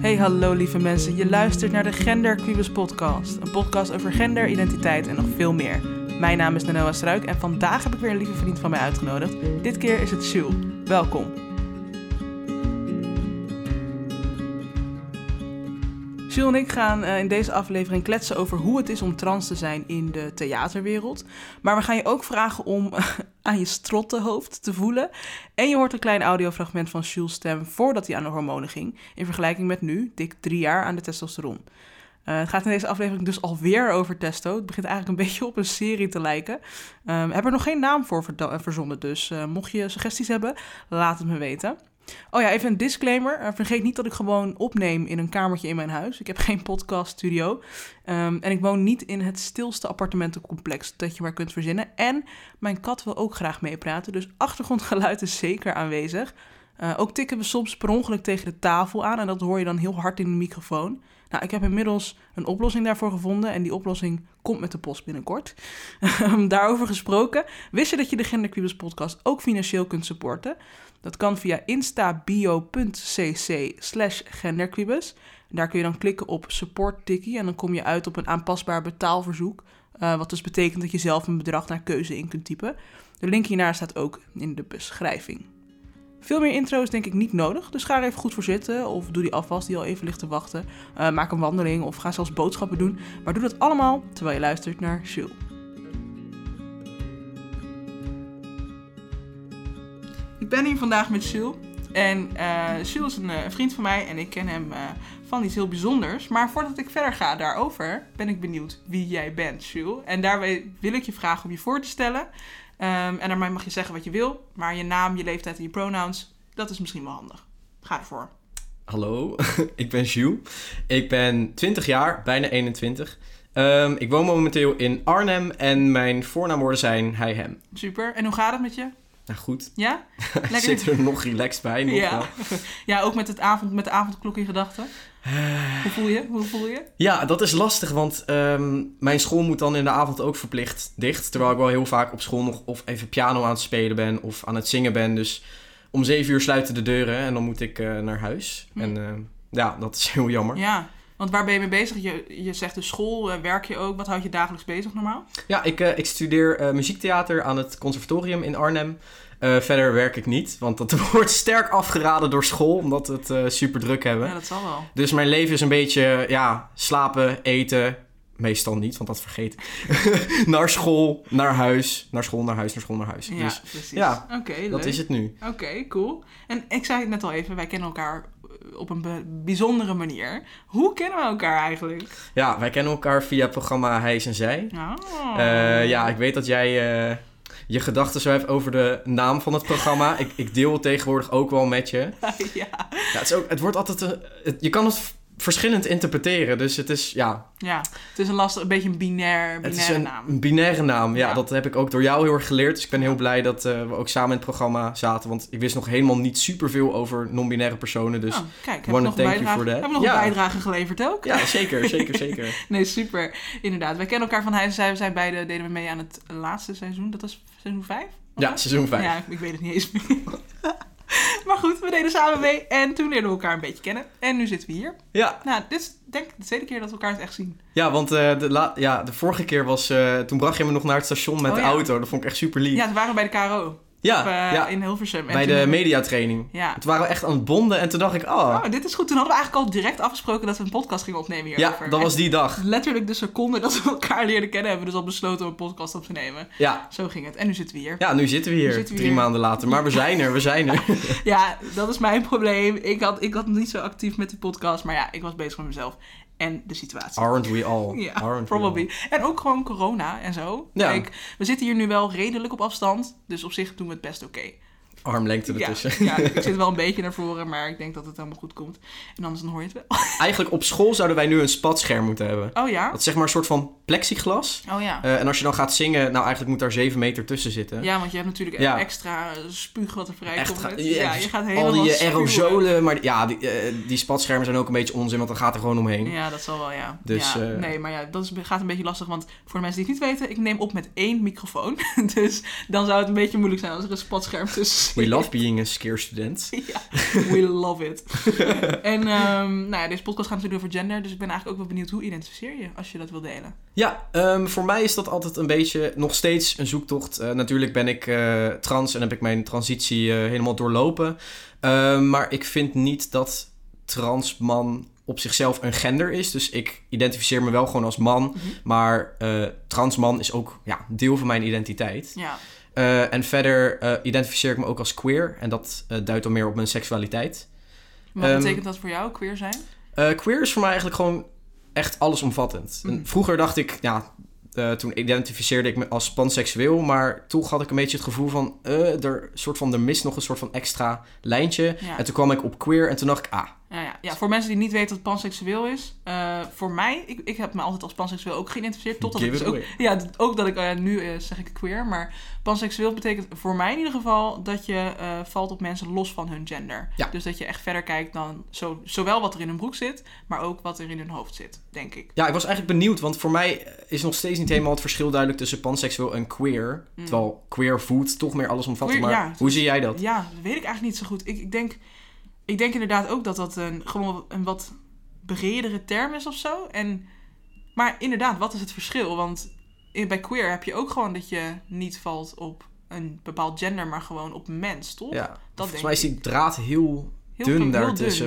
Hey hallo lieve mensen, je luistert naar de Gender Cubus podcast. Een podcast over gender, identiteit en nog veel meer. Mijn naam is Nanoa Struik en vandaag heb ik weer een lieve vriend van mij uitgenodigd. Dit keer is het Sjoel. Welkom. Jules en ik gaan eh, in deze aflevering kletsen over hoe het is om trans te zijn in de theaterwereld. Maar we gaan je ook vragen om aan je strottenhoofd te voelen. En je hoort een klein audiofragment van Jules' stem voordat hij aan de hormonen ging. In vergelijking met nu, dik drie jaar aan de testosteron. Eh, het gaat in deze aflevering dus alweer over testo. Het begint eigenlijk een beetje op een serie te lijken. Ehm, heb er nog geen naam voor verda- eh, verzonnen, dus eh, mocht je suggesties hebben, laat het me weten. Oh ja, even een disclaimer. Eh, vergeet niet dat ik gewoon opneem in een kamertje in mijn huis. Ik heb geen podcaststudio. Ehm, en ik woon niet in het stilste appartementencomplex dat je maar kunt verzinnen. En mijn kat wil ook graag meepraten, dus achtergrondgeluid is zeker aanwezig. Eh, ook tikken we soms per ongeluk tegen de tafel aan en dat hoor je dan heel hard in de microfoon. Nou, ik heb inmiddels een oplossing daarvoor gevonden en die oplossing komt met de post binnenkort. Ehm, Daarover gesproken, wist je dat je de Gendercubus podcast ook financieel kunt supporten? Dat kan via instabio.cc slash genderquibus. Daar kun je dan klikken op support tikkie en dan kom je uit op een aanpasbaar betaalverzoek. eh, wat dus betekent dat je zelf een bedrag naar keuze in kunt typen. De link hiernaar staat ook in de beschrijving. Veel meer intro is denk ik niet nodig, dus ga er even goed voor zitten of doe die afwas die al even ligt te wachten. Eh, maak een wandeling of ga zelfs boodschappen doen, maar doe dat allemaal terwijl je luistert naar Jules. Ik ben hier vandaag met Jules. En eh Jules is een eh, vriend van mij en ik ken hem eh, van iets heel bijzonders. Maar voordat ik verder ga daarover, ben ik benieuwd wie jij bent, Jules. En daarbij wil ik je vragen om je voor te stellen. Ehm, en daarmee mag je zeggen wat je wil, maar je naam, je leeftijd en je pronouns, dat is misschien wel handig. Ga ervoor. Hallo, ik ben Jules. Ik ben 20 jaar, bijna 21. Ehm, ik woon momenteel in Arnhem en mijn voornaamwoorden zijn hij, hem. Super. En hoe gaat het met je? Nou goed, Ja? ik zit er nog relaxed bij. Nog wel. ja. ja, ook met, het avond, met de avondklok in gedachten. Eh. Hoe voel je? Hoe voel je? ja, dat is lastig, want ehm, mijn school moet dan in de avond ook verplicht dicht. Terwijl ik wel heel vaak op school nog of even piano aan het spelen ben of aan het zingen ben. Dus om 7 uur sluiten de deuren en dan moet ik eh, naar huis. Hm. En ehm, ja, dat is heel jammer. Ja, want waar ben je mee bezig? Je, je zegt dus school, eh, werk je ook. Wat houd je dagelijks bezig normaal? Ja, ik, eh, ik studeer eh, muziektheater aan het conservatorium in Arnhem. Eh, verder werk ik niet, want dat wordt sterk afgeraden door school, omdat we het eh, super druk hebben. Ja, dat zal wel. Dus mijn leven is een beetje, eh, ja, slapen, eten. Meestal niet, want dat vergeet ik. naar school, naar huis, naar school, naar huis, naar school, naar huis. Ja, dus precies. ja, Oké, leuk. dat is het nu. Oké, cool. En ik zei het net al even, wij kennen elkaar eh, op een be- bijzondere manier. Hoe kennen we elkaar eigenlijk? Ja, wij kennen elkaar via het programma Hijs en Zij. Oh. Eh, ja, ik weet dat jij eh, je gedachten zo hebt over de naam van het programma. ik, ik deel het tegenwoordig ook wel met je. ja. Ja, het, is ook, het wordt altijd. een- het- je kan het v- verschillend interpreteren. Dus het is, ja, ja, het is een lastig, een beetje een binair, het binaire is een naam. een binaire naam. Ja, Ja. dat heb ik ook door jou heel erg geleerd. Dus ik ben heel blij dat eh, we ook samen in het programma zaten. Want ik wist nog helemaal niet superveel over non-binaire personen. Dus Oh, kijk, hebben we wanna nog, een thank you bijdrage, for that. hebben we nog Ja. een bijdrage geleverd ook? ja, zeker, zeker, zeker. Nee, super. Inderdaad, wij kennen elkaar van hij en zij. We zijn beide, deden we mee aan het laatste seizoen. Dat was seizoen 5? Ja, seizoen 5. Ja, ik weet het niet eens meer. maar goed, we deden samen mee en toen leerden we elkaar een beetje kennen. En nu zitten we hier. Ja, Nou, dit is denk ik de tweede keer dat we elkaar het echt zien. ja want eh, de, la- ja, de vorige keer was. eh, toen bracht je me nog naar het station met Oh, de ja. auto. Dat vond ik echt super lief. Ja, Ja, ze waren bij de KRO op, ja, eh, in Hilversum. En bij toen de hebben we- mediatraining. Ja. Toen waren we echt aan het bonden en toen dacht ik, oh, Oh, dit is goed. Toen hadden we eigenlijk al direct afgesproken dat we een podcast gingen opnemen hierover. ja, dat was die dag. En Letterlijk de seconde dat we elkaar leerden kennen, hebben we dus al besloten om een podcast op te nemen. Ja, Zo ging het. En nu zitten we hier. Ja, nu zitten we hier, Nu zitten we drie hier. maanden later. Maar we zijn er, we zijn er. Ja, dat is mijn probleem. Ik had, ik had niet zo actief met die podcast, maar ja, ik was bezig met mezelf en de situatie. Aren't we all? Ja, Aren't we probably. En ook gewoon corona en zo. Ja. Kijk, we zitten hier nu wel redelijk op afstand, dus op zich doen we het best oké. all? Armlengte Ja, ertussen. ja, ik zit wel een beetje naar voren, maar ik denk dat het helemaal goed komt. En anders dan hoor je het wel. Eigenlijk op school zouden wij nu een spatscherm moeten hebben. Oh ja? Dat is zeg maar een soort van plexiglas. Oh ja. Eh, en als je dan gaat zingen, nou eigenlijk moet daar zeven meter tussen zitten. Ja, want je hebt natuurlijk Ja. extra spuug wat er vrijkomt. Echt, ga- net. ja, ja, je gaat helemaal al die eh, spuwen. aerosolen, maar ja, die, eh, die spatschermen zijn ook een beetje onzin, want dan gaat er gewoon omheen. Ja, dat zal wel, ja. Dus, ja. eh, Nee, maar ja, dat is, gaat een beetje lastig. Want voor de mensen die het niet weten, ik neem op met één microfoon. Dus dan zou het een beetje moeilijk zijn als er een spatscherm tussen We love being a skeer student. Ja, we love it. en ehm, nou ja, deze podcast gaat natuurlijk over gender, dus ik ben eigenlijk ook wel benieuwd hoe identificeer je als je dat wil delen. Ja, ehm, voor mij is dat altijd een beetje nog steeds een zoektocht. Eh, natuurlijk ben ik eh, trans en heb ik mijn transitie eh, helemaal doorlopen. Ehm, maar ik vind niet dat trans man op zichzelf een gender is. Dus ik identificeer me wel gewoon als man. Mhm. Maar eh trans man is ook ja, deel van mijn identiteit. Ja, Eh, en verder eh, identificeer ik me ook als queer. En dat eh, duidt dan meer op mijn seksualiteit. wat Ehm, betekent dat voor jou, queer zijn? Eh, queer is voor mij eigenlijk gewoon echt allesomvattend. En Mm. Vroeger dacht ik, ja, eh, toen identificeerde ik me als panseksueel, maar toen had ik een beetje het gevoel van, eh, er, soort van, er mist nog een soort van extra lijntje. Ja. En toen kwam ik op queer en toen dacht ik, ah, Ja, Nou ja. ja, voor mensen die niet weten wat panseksueel is. eh, voor mij, ik, ik heb me altijd als panseksueel ook geïdentificeerd. Totdat ik Give dus it ook, away. ja, d- ook dat ik, eh, nu eh, zeg ik queer, maar panseksueel betekent voor mij in ieder geval dat je eh, valt op mensen los van hun gender. Ja. Dus dat je echt verder kijkt dan zo, zowel wat er in hun broek zit, maar ook wat er in hun hoofd zit, denk ik. ja, ik was eigenlijk benieuwd, want voor mij is nog steeds niet helemaal het verschil duidelijk tussen panseksueel en queer. Mm. Terwijl queer voelt toch meer allesomvattend, Queer, maar ja. hoe zie jij dat? Ja, dat weet ik eigenlijk niet zo goed. Ik, ik, denk, ik denk inderdaad ook dat dat een, gewoon een wat bredere term is of zo. En, maar inderdaad, wat is het verschil? Want in- bij queer heb je ook gewoon dat je niet valt op een bepaald gender, maar gewoon op mens, toch? Volgens denk mij is die draad heel Heel dun veel- heel daartussen,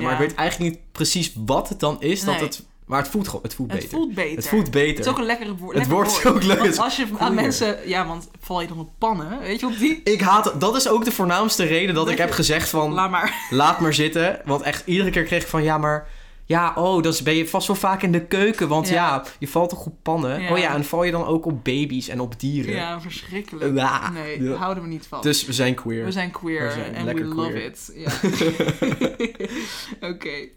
dun, eh, maar ja. ik weet eigenlijk niet precies wat het dan is, dat Nee. het, maar het voelt gewoon, het voelt Het beter. voelt beter. Het voelt Het beter. is ook een lekkere woord. Het lekker woord is ook leuk. Want als je Queer. aan mensen... Ja, want val je dan op pannen, weet je, op die... Ik haat... Dat is ook de voornaamste reden dat Dat ik je- heb gezegd van... Laat maar. Laat maar zitten. Want echt iedere keer kreeg ik van... Ja, maar... Ja, oh, dan ben je vast wel vaak in de keuken. Want Ja. ja, je valt toch op pannen? Ja. Oh ja, en val je dan ook op baby's en op dieren? Ja, verschrikkelijk. Ja. Nee, Ja. houden we niet van. Dus we zijn queer. We zijn We queer zijn en we lekker love queer. it. Ja. Oké.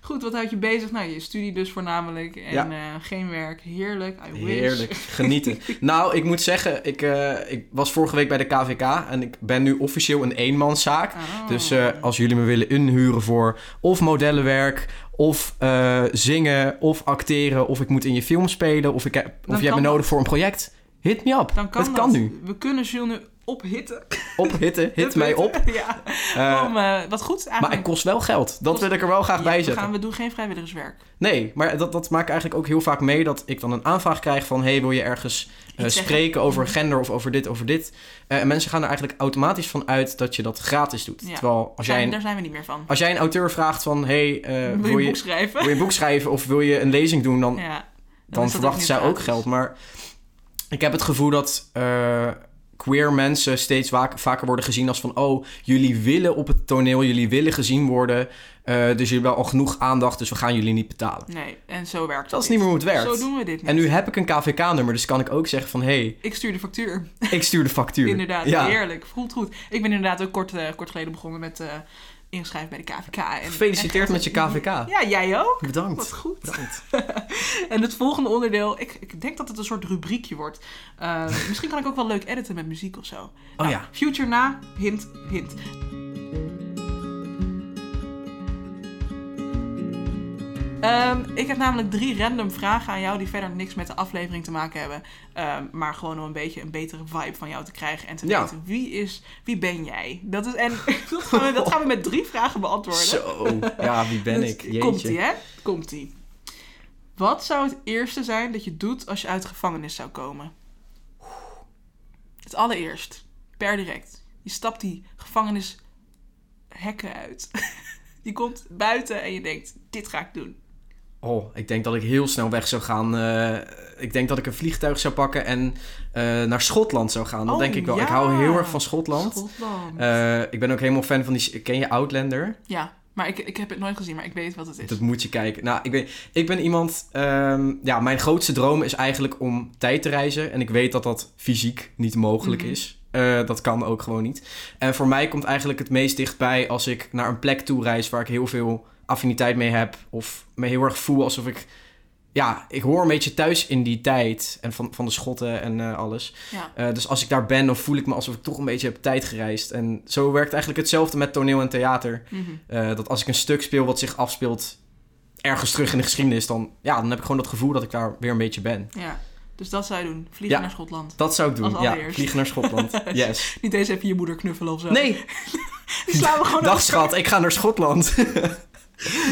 Goed, wat houdt je bezig? Nou, je studie dus voornamelijk. En eh, geen werk. Heerlijk. I wish. Heerlijk, genieten. nou, ik moet zeggen, ik, eh, ik was vorige week bij de KVK en ik ben nu officieel een eenmanszaak. Ah. Dus eh, als jullie me willen inhuren voor of modellenwerk, of eh, zingen, of acteren, of ik moet in je film spelen, of, ik heb, Dan of je hebt kan me dat. nodig voor een project, hit me up. Dan kan het dat. kan nu. We kunnen Jules nu ophitten. Op hitten, hit mij op. ja. Eh, Om, eh, wat goed eigenlijk. maar het kost wel geld. Dat Kost- wil ik er wel graag Ja, bij we, zetten. gaan, we doen geen vrijwilligerswerk. Nee, maar dat, dat maakt eigenlijk ook heel vaak mee dat ik dan een aanvraag krijg van... hey, wil je ergens eh, zeggen. Mhm. spreken over gender of over dit, over dit? Eh, en mensen gaan er eigenlijk automatisch van uit dat je dat gratis doet. Ja. Terwijl als jij, Zijn- een, Daar zijn we niet meer van. als jij een auteur vraagt van... hey, eh, Wil je een boek schrijven? wil je een boek schrijven of wil je een lezing doen, dan, ja. dan is dat verwachten nu zij ook gratis. geld. Maar ik heb het gevoel dat eh, queer mensen steeds wa- vaker worden gezien als van... oh, jullie willen op het toneel, jullie willen gezien worden... eh, dus jullie hebben al genoeg aandacht, dus we gaan jullie niet betalen. Nee, en zo werkt Dat is het niet meer hoe het werkt. Zo doen we dit niet. En nu heb ik een KVK-nummer, dus kan ik ook zeggen van... hé, Ik stuur de factuur. hey, ik stuur de factuur. Inderdaad, ja. heerlijk. Voelt goed. Ik ben inderdaad ook kort, eh, kort geleden begonnen met eh, inschrijven bij de KVK. En, Gefeliciteerd en- met je KVK. Ja, jij ook. Wat Bedankt. goed. Bedankt. En het volgende onderdeel, ik, ik denk dat het een soort rubriekje wordt. Eh, misschien kan ik ook wel leuk editen met muziek of zo. Oh ja. Nou, Future na, hint, hint. Ehm, ik heb namelijk drie random vragen aan jou die verder niks met de aflevering te maken hebben. Ehm, maar gewoon om een beetje een betere vibe van jou te krijgen en te Ja. weten wie is, wie ben jij? Dat is, en dat gaan, we, dat gaan we met drie vragen beantwoorden. Zo. Ja, wie ben Dus ik? Jeetje. Komt-ie, hè? Komt-ie. Wat zou het eerste zijn dat je doet als je uit de gevangenis zou komen? Het allereerst. Per direct. Je stapt die gevangenishekken uit. je komt buiten en je denkt, dit ga ik doen. Oh, ik denk dat ik heel snel weg zou gaan. Eh, ik denk dat ik een vliegtuig zou pakken en eh, naar Schotland zou gaan. Dat Oh, denk ik wel. ja. Ik hou heel erg van Schotland. Schotland. Eh, ik ben ook helemaal fan van die... Ken je Outlander? Eh, ja, maar ik, ik heb het nooit gezien, maar ik weet wat het is. Dat moet je kijken. Nou, ik ben, ik ben iemand... ehm, ja, mijn grootste droom is eigenlijk om tijd te reizen. En ik weet dat dat fysiek niet mogelijk Mhm. is. Eh, dat kan ook gewoon niet. En voor mij komt eigenlijk het meest dichtbij als ik naar een plek toe reis... waar ik heel veel affiniteit mee heb. Of me heel erg voel alsof ik... Ja, ik hoor een beetje thuis in die tijd. En van, van de schotten en eh, alles. Ja. Eh, dus als ik daar ben, dan voel ik me alsof ik toch een beetje heb tijd gereisd. En zo werkt eigenlijk hetzelfde met toneel en theater. Mhm. Eh, dat als ik een stuk speel wat zich afspeelt ergens terug in de geschiedenis, dan, ja, dan heb ik gewoon dat gevoel dat ik daar weer een beetje ben. ja. Dus dat zou je doen. Vliegen Ja. naar Schotland. Dat zou ik doen. Als Ja, allereerst. Oh, vliegen naar Schotland. Yes. Niet eens even je moeder knuffelen of zo. Nee, Die slaan we gewoon dag over. schat, ik ga naar Schotland. Oké,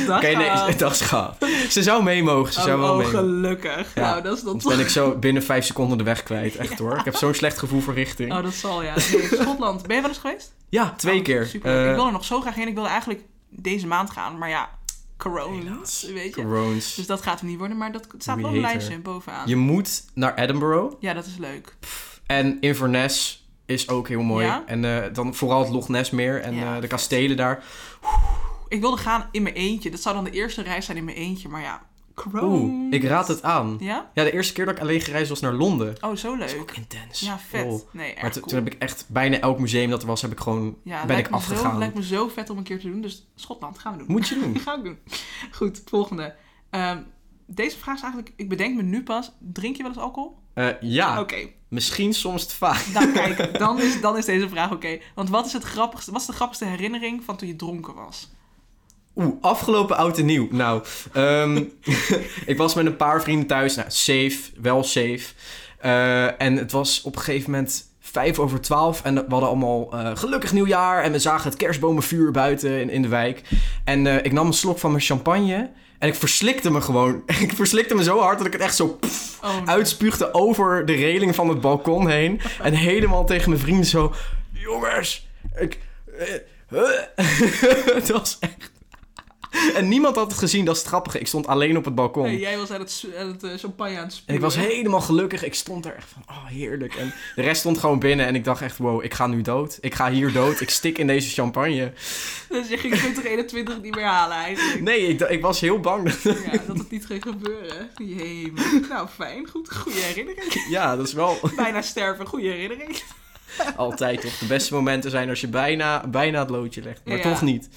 Dag, aan. nee, dag schat. Ze zou mee mogen, ze zou oh, wel oh, mee mogen. gelukkig. Ja, Nou, dat is dan Want toch... ben ik zo binnen vijf seconden de weg kwijt, echt hoor. Ik heb zo'n slecht gevoel voor richting. Oh, dat zal ja. Nee, Schotland. Ben je wel eens geweest? ja, twee Oh, keer. Super. Eh, ik wil er nog zo graag heen. Ik wilde eigenlijk deze maand gaan. Maar ja, corona. Helaas. Weet je. Corones. Dus ah. dat gaat hem niet worden. Maar dat het staat Wie wel op een heet er? lijstje bovenaan. Je moet naar Edinburgh. Ja, dat is leuk. En Inverness is ook heel mooi. Ja? En eh, dan vooral het Loch Nessmeer en Ja, eh, de kastelen daar. Ik wilde gaan in mijn eentje. Dat zou dan de eerste reis zijn in mijn eentje. Maar ja, corona. Oeh, ik raad het aan. Ja? Ja, de eerste keer dat ik alleen gereisd was naar Londen. Oh, zo Dat is leuk. ook intens. Ja, vet. Wow. Nee, Oh. Maar echt toen- cool. toen heb ik echt bijna elk museum dat er was, heb ik gewoon, ja, ben lijkt ik me zo- afgegaan. lijkt me zo vet om een keer te doen. Dus Schotland gaan we doen. Moet je doen. Ga ik doen. Goed, volgende. Ehm, deze vraag is eigenlijk... Ik bedenk me nu pas. Drink je wel eens alcohol? Eh, ja, Oké. misschien soms te vaak. Nou kijk, dan is, dan is deze vraag oké. Want wat is, het grappigste, wat is de grappigste herinnering van toen je dronken was? Oeh, afgelopen oud en nieuw. Nou, ehm, ik was met een paar vrienden thuis. Nou, safe, wel safe. Eh, en het was op een gegeven moment vijf over twaalf. En we hadden allemaal eh, gelukkig nieuwjaar. En we zagen het kerstbomenvuur buiten in, in de wijk. En eh, ik nam een slok van mijn champagne. En ik verslikte me gewoon. ik verslikte me zo hard dat ik het echt zo Oh, nee. uitspuugde over de reling van het balkon heen. En helemaal tegen mijn vrienden zo... Jongens, ik... eh, eh." het was echt... En niemand had het gezien, dat is het grappige. Ik stond alleen op het balkon. Nee, jij was aan het, su- aan het eh, champagne aan het En spuwen. ik was helemaal gelukkig. Ik stond er echt van, oh heerlijk. En de rest stond gewoon binnen. En ik dacht echt, wow, ik ga nu dood. Ik ga hier dood. Ik stik in deze champagne. Dus je ging 2021 niet meer halen eigenlijk. Nee, ik, d- ik was heel bang. Ja, dat het niet ging gebeuren. Jee, man. Nou, fijn. Goed. Goede herinnering. Ja, dat is wel Bijna sterven. Goede herinnering. altijd toch. De beste momenten zijn als je bijna, bijna het loodje legt. Maar Ja. toch niet.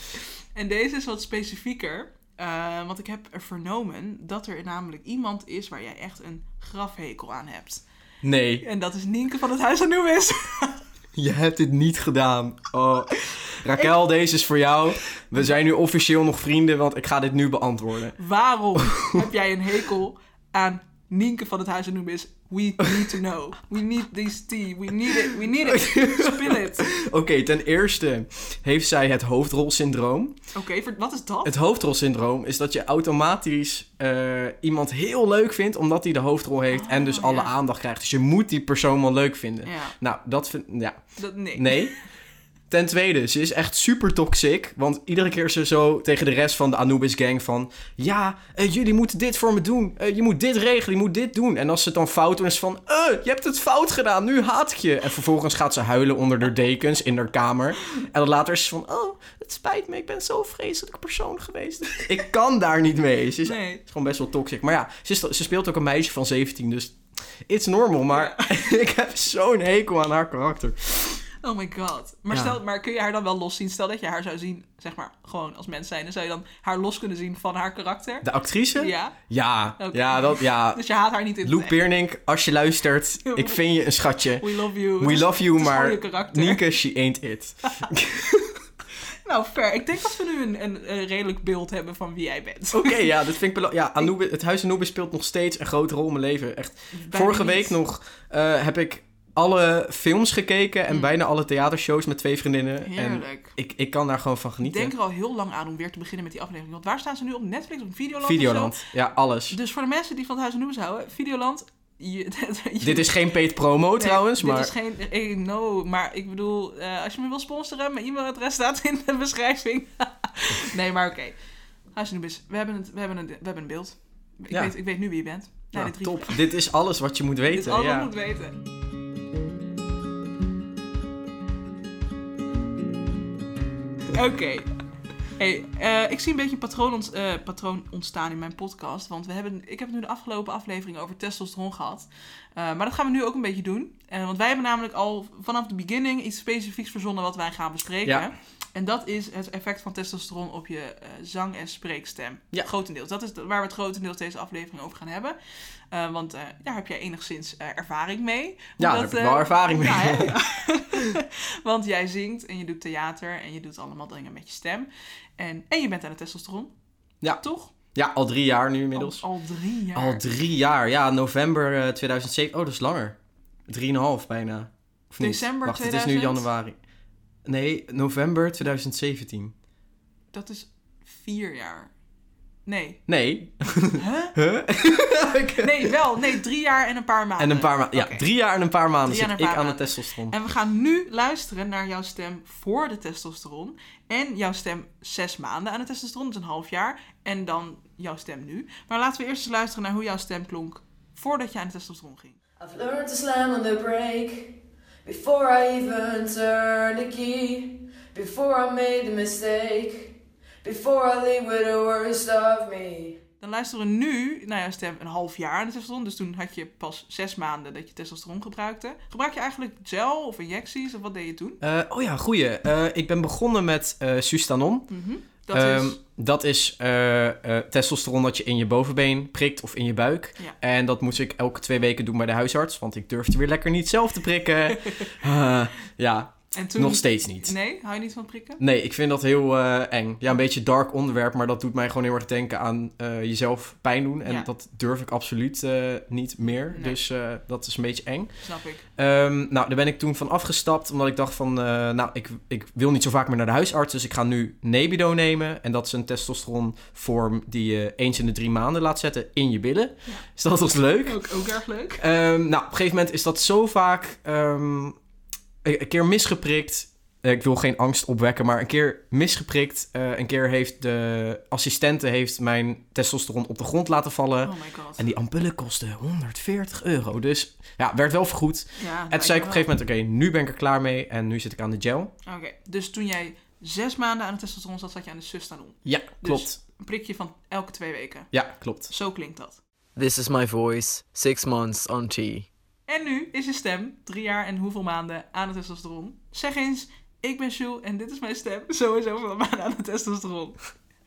En deze is wat specifieker. eh, want ik heb er vernomen dat er namelijk iemand is waar jij echt een grafhekel aan hebt. Nee. En dat is Nienke van het Huis aan Noemis. Je hebt dit niet gedaan. Oh. Raquel, deze is voor jou. We zijn nu officieel nog vrienden, want ik ga dit nu beantwoorden. Waarom heb jij een hekel aan Nienke van het Huis aan Noemis? We need to know. We need this tea. We need it. We need it. Spill it. Oké, ten eerste heeft zij het hoofdrolsyndroom. Oké, ver- wat is dat? Het hoofdrolsyndroom is dat je automatisch eh, iemand heel leuk vindt, omdat hij de hoofdrol heeft en dus Ah, alle ja. aandacht krijgt. Dus je moet die persoon wel leuk vinden. Ja, Nou, dat vind Ja, dat, nee. Nee. Ten tweede, ze is echt super toxic. Want iedere keer is ze zo tegen de rest van de Anubis gang van... Ja, eh, jullie moeten dit voor me doen. Eh, je moet dit regelen, je moet dit doen. En als ze het dan fout doen, is ze van... eh, je hebt het fout gedaan, nu haat ik je. En vervolgens gaat ze huilen onder haar dekens in haar kamer. En dan later is ze van... Oh, het spijt me, ik ben zo'n vreselijke persoon geweest. ik kan daar niet mee. Ze is, Nee. is gewoon best wel toxic. Maar ja, ze, is- ze speelt ook een meisje van 17, dus... It's normal, maar ik heb zo'n hekel aan haar karakter. Oh my god. Maar, Ja. stel, maar kun je haar dan wel los zien? Stel dat je haar zou zien, zeg maar, gewoon als mens zijn. Dan zou je dan haar los kunnen zien van haar karakter? De actrice? Ja. Ja, Oké. ja, dat, ja. Dus je haat haar niet in het Lou echt. Peernink, als je luistert, ik vind je een schatje. We love you. Het We is- love you, het is gewoon maar je karakter. Nienke, she ain't it. Nou, fair. Ik denk dat we nu een, een, eh, redelijk beeld hebben van wie jij bent. Oké, ja, dat vind ik bela- Ja, Anubis, het huis Anubis speelt nog steeds een grote rol in mijn leven. Echt. Bijna Vorige niet. week nog eh, heb ik alle films gekeken en Mm. bijna alle theatershows met twee vriendinnen. En Heerlijk. ik, ik kan daar gewoon van Ik genieten. denk er al heel lang aan om weer te beginnen met die aflevering. Want waar staan ze nu op Netflix, op Videoland? Of Videoland, ja, alles. zo? Dus voor de mensen die van het Huis en Noemes houden, Videoland... Je, je- Dit is geen paid promo Nee, trouwens, maar... Dit is geen... eh, no, maar ik bedoel, eh, als je me wil sponsoren, mijn e-mailadres staat in de beschrijving. nee, maar oké. Huis en Noemes, we hebben, het, we, hebben een, we hebben een beeld. Ik, Ja. weet, ik weet nu wie je bent. Ja, Nou, dit drie- top. Dit is alles wat je moet weten. Dit is allemaal ja. moet weten. Oké. Hey, eh, ik zie een beetje een patroon, ont- eh, patroon ontstaan in mijn podcast. Want we hebben, ik heb het nu de afgelopen aflevering over testosteron gehad. Eh, maar dat gaan we nu ook een beetje doen. Eh, want wij hebben namelijk al vanaf de beginning iets specifieks verzonnen wat wij gaan bespreken. Ja. En dat is het effect van testosteron op je eh, zang- en spreekstem. Ja. Grotendeels. Dat is de- waar we het grotendeels deze aflevering over gaan hebben. Eh, want eh, daar heb jij enigszins eh, ervaring mee. Ja, daar Omdat, heb ik eh, wel ervaring mee. ja, hè? Ja. Want jij zingt en je doet theater en je doet allemaal dingen met je stem. En, en je bent aan het testosteron. Ja. Toch? Ja, al drie jaar nu inmiddels. Al, al drie jaar. Al drie jaar, ja. November eh, 2007. Oh, dat is langer. Drieënhalf bijna. Of niet? December Wacht, het is nu 2000? januari. Nee, november 2017. Dat is vier jaar. Nee. Nee. Oh, Huh? Huh? Nee, wel. Nee, drie jaar en een paar maanden. En een paar maanden. Oké. Ja, drie jaar en een paar maanden Drie jaar zit ik en een paar aan de maanden. testosteron. En we gaan nu luisteren naar jouw stem voor de testosteron. En jouw stem zes maanden aan de testosteron, dus een half jaar. En dan jouw stem nu. Maar laten we eerst eens luisteren naar hoe jouw stem klonk voordat je aan de testosteron ging. I've learned to slam on the brake before I even turned the key, before I made a mistake, before I leave with the worst of me. Dan luisteren we nu naar jouw stem een half jaar aan de testosteron. Dus toen had je pas zes maanden dat je testosteron gebruikte. Gebruik je eigenlijk gel of injecties of wat deed je toen? Eh, oh ja, goeie. Eh, ik ben begonnen met eh, Sustanon. Mm, Dat Ehm, is... dat is eh, eh, testosteron dat je in je bovenbeen prikt of in je buik. Ja. En dat moest ik elke twee weken doen bij de huisarts, want ik durfde weer lekker niet zelf te prikken. Ah, ja, En toen... nog steeds niet. Nee, hou je niet van prikken? Nee, ik vind dat heel eh, eng. Ja, een beetje dark onderwerp, maar dat doet mij gewoon heel erg denken aan eh, jezelf pijn doen. En Ja. dat durf ik absoluut eh, niet meer. Nee. Dus eh, dat is een beetje eng. Snap ik. Ehm, nou, daar ben ik toen van afgestapt, omdat ik dacht van, eh, nou, ik, ik wil niet zo vaak meer naar de huisarts, dus ik ga nu Nebido nemen. En dat is een testosteronvorm die je eens in de drie maanden laat zetten in je billen. Ja. Dus dat was leuk. Ook, ook erg leuk. Ehm, nou, op een gegeven moment is dat zo vaak ehm, een een keer misgeprikt. Eh, ik wil geen angst opwekken, maar een keer misgeprikt. Eh, een keer heeft de assistente heeft mijn testosteron op de grond laten vallen. Oh my god. En die ampullen kosten 140 euro. Dus ja, werd wel vergoed. Ja, En toen zei ik op een gegeven moment, oké, nu ben ik er klaar mee en nu zit ik aan de gel. Oké, dus toen jij zes maanden aan de testosteron zat, zat je aan de sustanon. Ja, klopt. Dus Een prikje van elke twee weken. Ja, klopt. Zo klinkt dat. This is my voice, six months on T. En nu is je stem drie jaar en hoeveel maanden aan de testosteron. Zeg eens, ik ben Jules en dit is mijn stem. Sowieso van maanden aan de testosteron.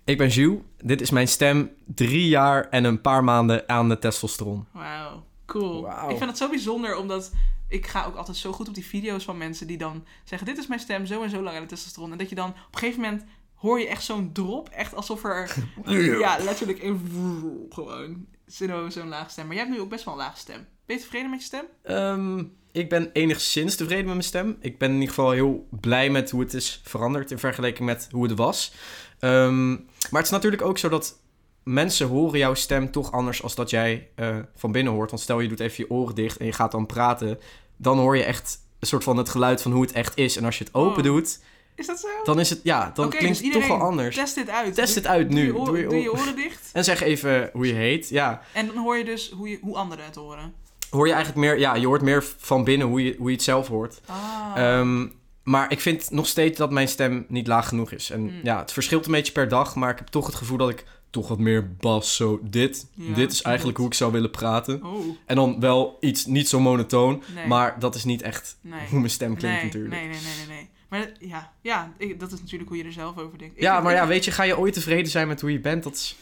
Ik ben Jules, dit is mijn stem, drie jaar en een paar maanden aan de testosteron. Wauw, cool. Wauw. Ik vind het zo bijzonder, omdat ik ga ook altijd zo goed op die video's van mensen die dan zeggen... dit is mijn stem, zo en zo lang aan de testosteron. En dat je dan op een gegeven moment hoor je echt zo'n drop. Echt alsof er, eh, ja, letterlijk een vroel gewoon zo- zo'n laag stem. Maar jij hebt nu ook best wel een laag stem. Ben je tevreden met je stem? Ehm, ik ben enigszins tevreden met mijn stem. Ik ben in ieder geval heel blij met hoe het is veranderd in vergelijking met hoe het was. Ehm, maar het is natuurlijk ook zo dat mensen horen jouw stem toch anders als dat jij eh, van binnen hoort. Want stel je doet even je oren dicht en je gaat dan praten, dan hoor je echt een soort van het geluid van hoe het echt is. En als je het open Oh. doet, Is dat zo? Dan is het, ja, dan Oké, klinkt dus het toch wel iedereen, anders. Test dit uit. Test Doe- het uit nu. Doe je, oren, doe, je oren dicht. En zeg even hoe je heet. Ja, En dan hoor je dus hoe, je, hoe anderen het horen. hoor je eigenlijk meer, ja, je hoort meer van binnen hoe je, hoe je het zelf hoort. Ah, Ehm, maar ik vind nog steeds dat mijn stem niet laag genoeg is. En Hmm. ja, het verschilt een beetje per dag, maar ik heb toch het gevoel dat ik toch wat meer bas zo dit. Ja, dit is eigenlijk klopt. hoe ik zou willen praten. oh, En dan wel iets niet zo monotoon, nee. maar dat is niet echt nee. hoe mijn stem klinkt nee, natuurlijk. Nee, nee, nee, nee, nee. Maar dat- ja, ja ik- dat is natuurlijk hoe je er zelf over denkt. Ik- Ja, ik- maar ja, ik- weet je, ga je ooit tevreden zijn met hoe je bent? Dat is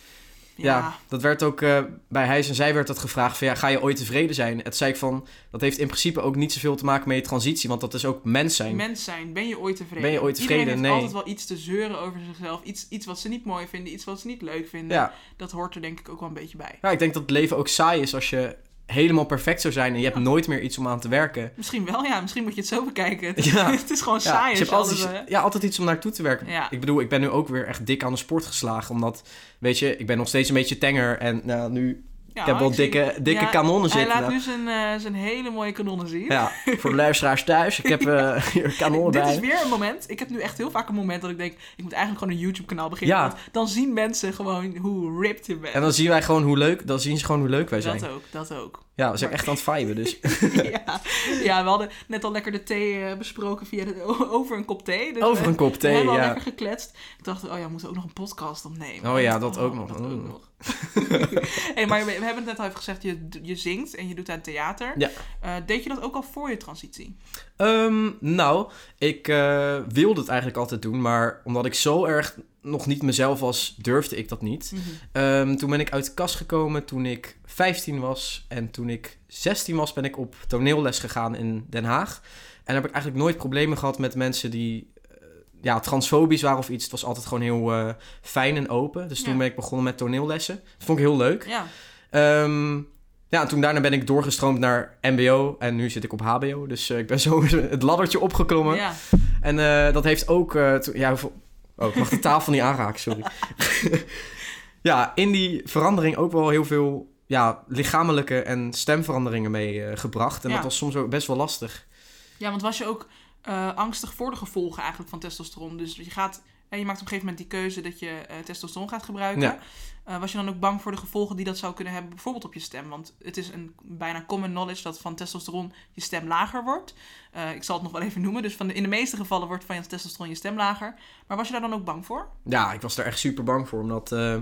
Ja, dat werd ook eh, bij Hijs en Zij werd dat gevraagd van ja, ga je ooit tevreden zijn? Het zei ik van, dat heeft in principe ook niet zoveel te maken met je transitie, want dat is ook mens zijn. mens zijn, ben je ooit tevreden? Ben je ooit tevreden? Iedereen Nee. heeft altijd wel iets te zeuren over zichzelf. Iets, iets wat ze niet mooi vinden, iets wat ze niet leuk vinden. ja. Dat hoort er denk ik ook wel een beetje bij. ja, ik denk dat het leven ook saai is als je helemaal perfect zou zijn en je hebt nooit meer iets om aan te werken. Misschien wel, ja. Misschien moet je het zo bekijken. Het, Ja. het is gewoon Ja, saai. als dus je hebt je alles, altijd, eh, ja, altijd iets om naartoe te werken. Ja. Ik bedoel, ik ben nu ook weer echt dik aan de sport geslagen, omdat, weet je, ik ben nog steeds een beetje tenger en nou, nu, ja, ik heb wel ik zie- dikke, dikke Ja, kanonnen Hij zitten. laat nou. nu zijn, eh, zijn hele mooie kanonnen zien. Ja, voor de luisteraars thuis, ik heb eh, hier kanonnen Dit bij. is weer een moment. Ik heb nu echt heel vaak een moment dat ik denk... ik moet eigenlijk gewoon een YouTube-kanaal beginnen. Ja. Want dan zien mensen gewoon hoe ripped je bent. En dan zien wij gewoon hoe leuk, dan zien ze gewoon hoe leuk wij zijn. dat ook, dat ook. Ja, we zijn Maar- echt aan het viben, dus. ja. ja, we hadden net al lekker de thee eh, besproken via de, over een kop thee. Dus Over we- een kop we thee, hebben al ja. lekker gekletst. Ik dacht, oh ja, we moeten ook nog een podcast opnemen. Oh ja, dat ook nog. dat ook Mm. nog. hey, maar we we hebben het net al even gezegd, je, je zingt en je doet aan theater. Ja. Eh, deed je dat ook al voor je transitie? Ehm, nou, ik eh, wilde het eigenlijk altijd doen, maar omdat ik zo erg nog niet mezelf was, durfde ik dat niet. Ehm, toen ben ik uit de kast gekomen toen ik 15 was. En toen ik 16 was, ben ik op toneelles gegaan in Den Haag. En heb ik eigenlijk nooit problemen gehad met mensen die eh, ja, transfobisch waren of iets. Het was altijd gewoon heel eh, fijn en open. Dus toen Ja. ben ik begonnen met toneellessen. Dat vond ik heel leuk. Ja. Ehm, ja, en toen daarna ben ik doorgestroomd naar MBO. En nu zit ik op HBO. Dus eh, ik ben zo het laddertje opgeklommen. ja. En eh, dat heeft ook... eh, toen- ja, hoeveel- Oh, ik mag de tafel niet aanraken, sorry. ja, in die verandering ook wel heel veel ja, lichamelijke en stemveranderingen mee eh, gebracht. En Ja. dat was soms ook best wel lastig. Ja, want was je ook eh, angstig voor de gevolgen eigenlijk van testosteron? Dus je, gaat, en je maakt op een gegeven moment die keuze dat je eh, testosteron gaat gebruiken. Ja. Eh, was je dan ook bang voor de gevolgen die dat zou kunnen hebben, bijvoorbeeld op je stem? Want het is een bijna common knowledge dat van testosteron je stem lager wordt. Eh, ik zal het nog wel even noemen. Dus van de, in de meeste gevallen wordt van je testosteron je stem lager. Maar was je daar dan ook bang voor? Ja, ik was daar echt super bang voor. Omdat eh,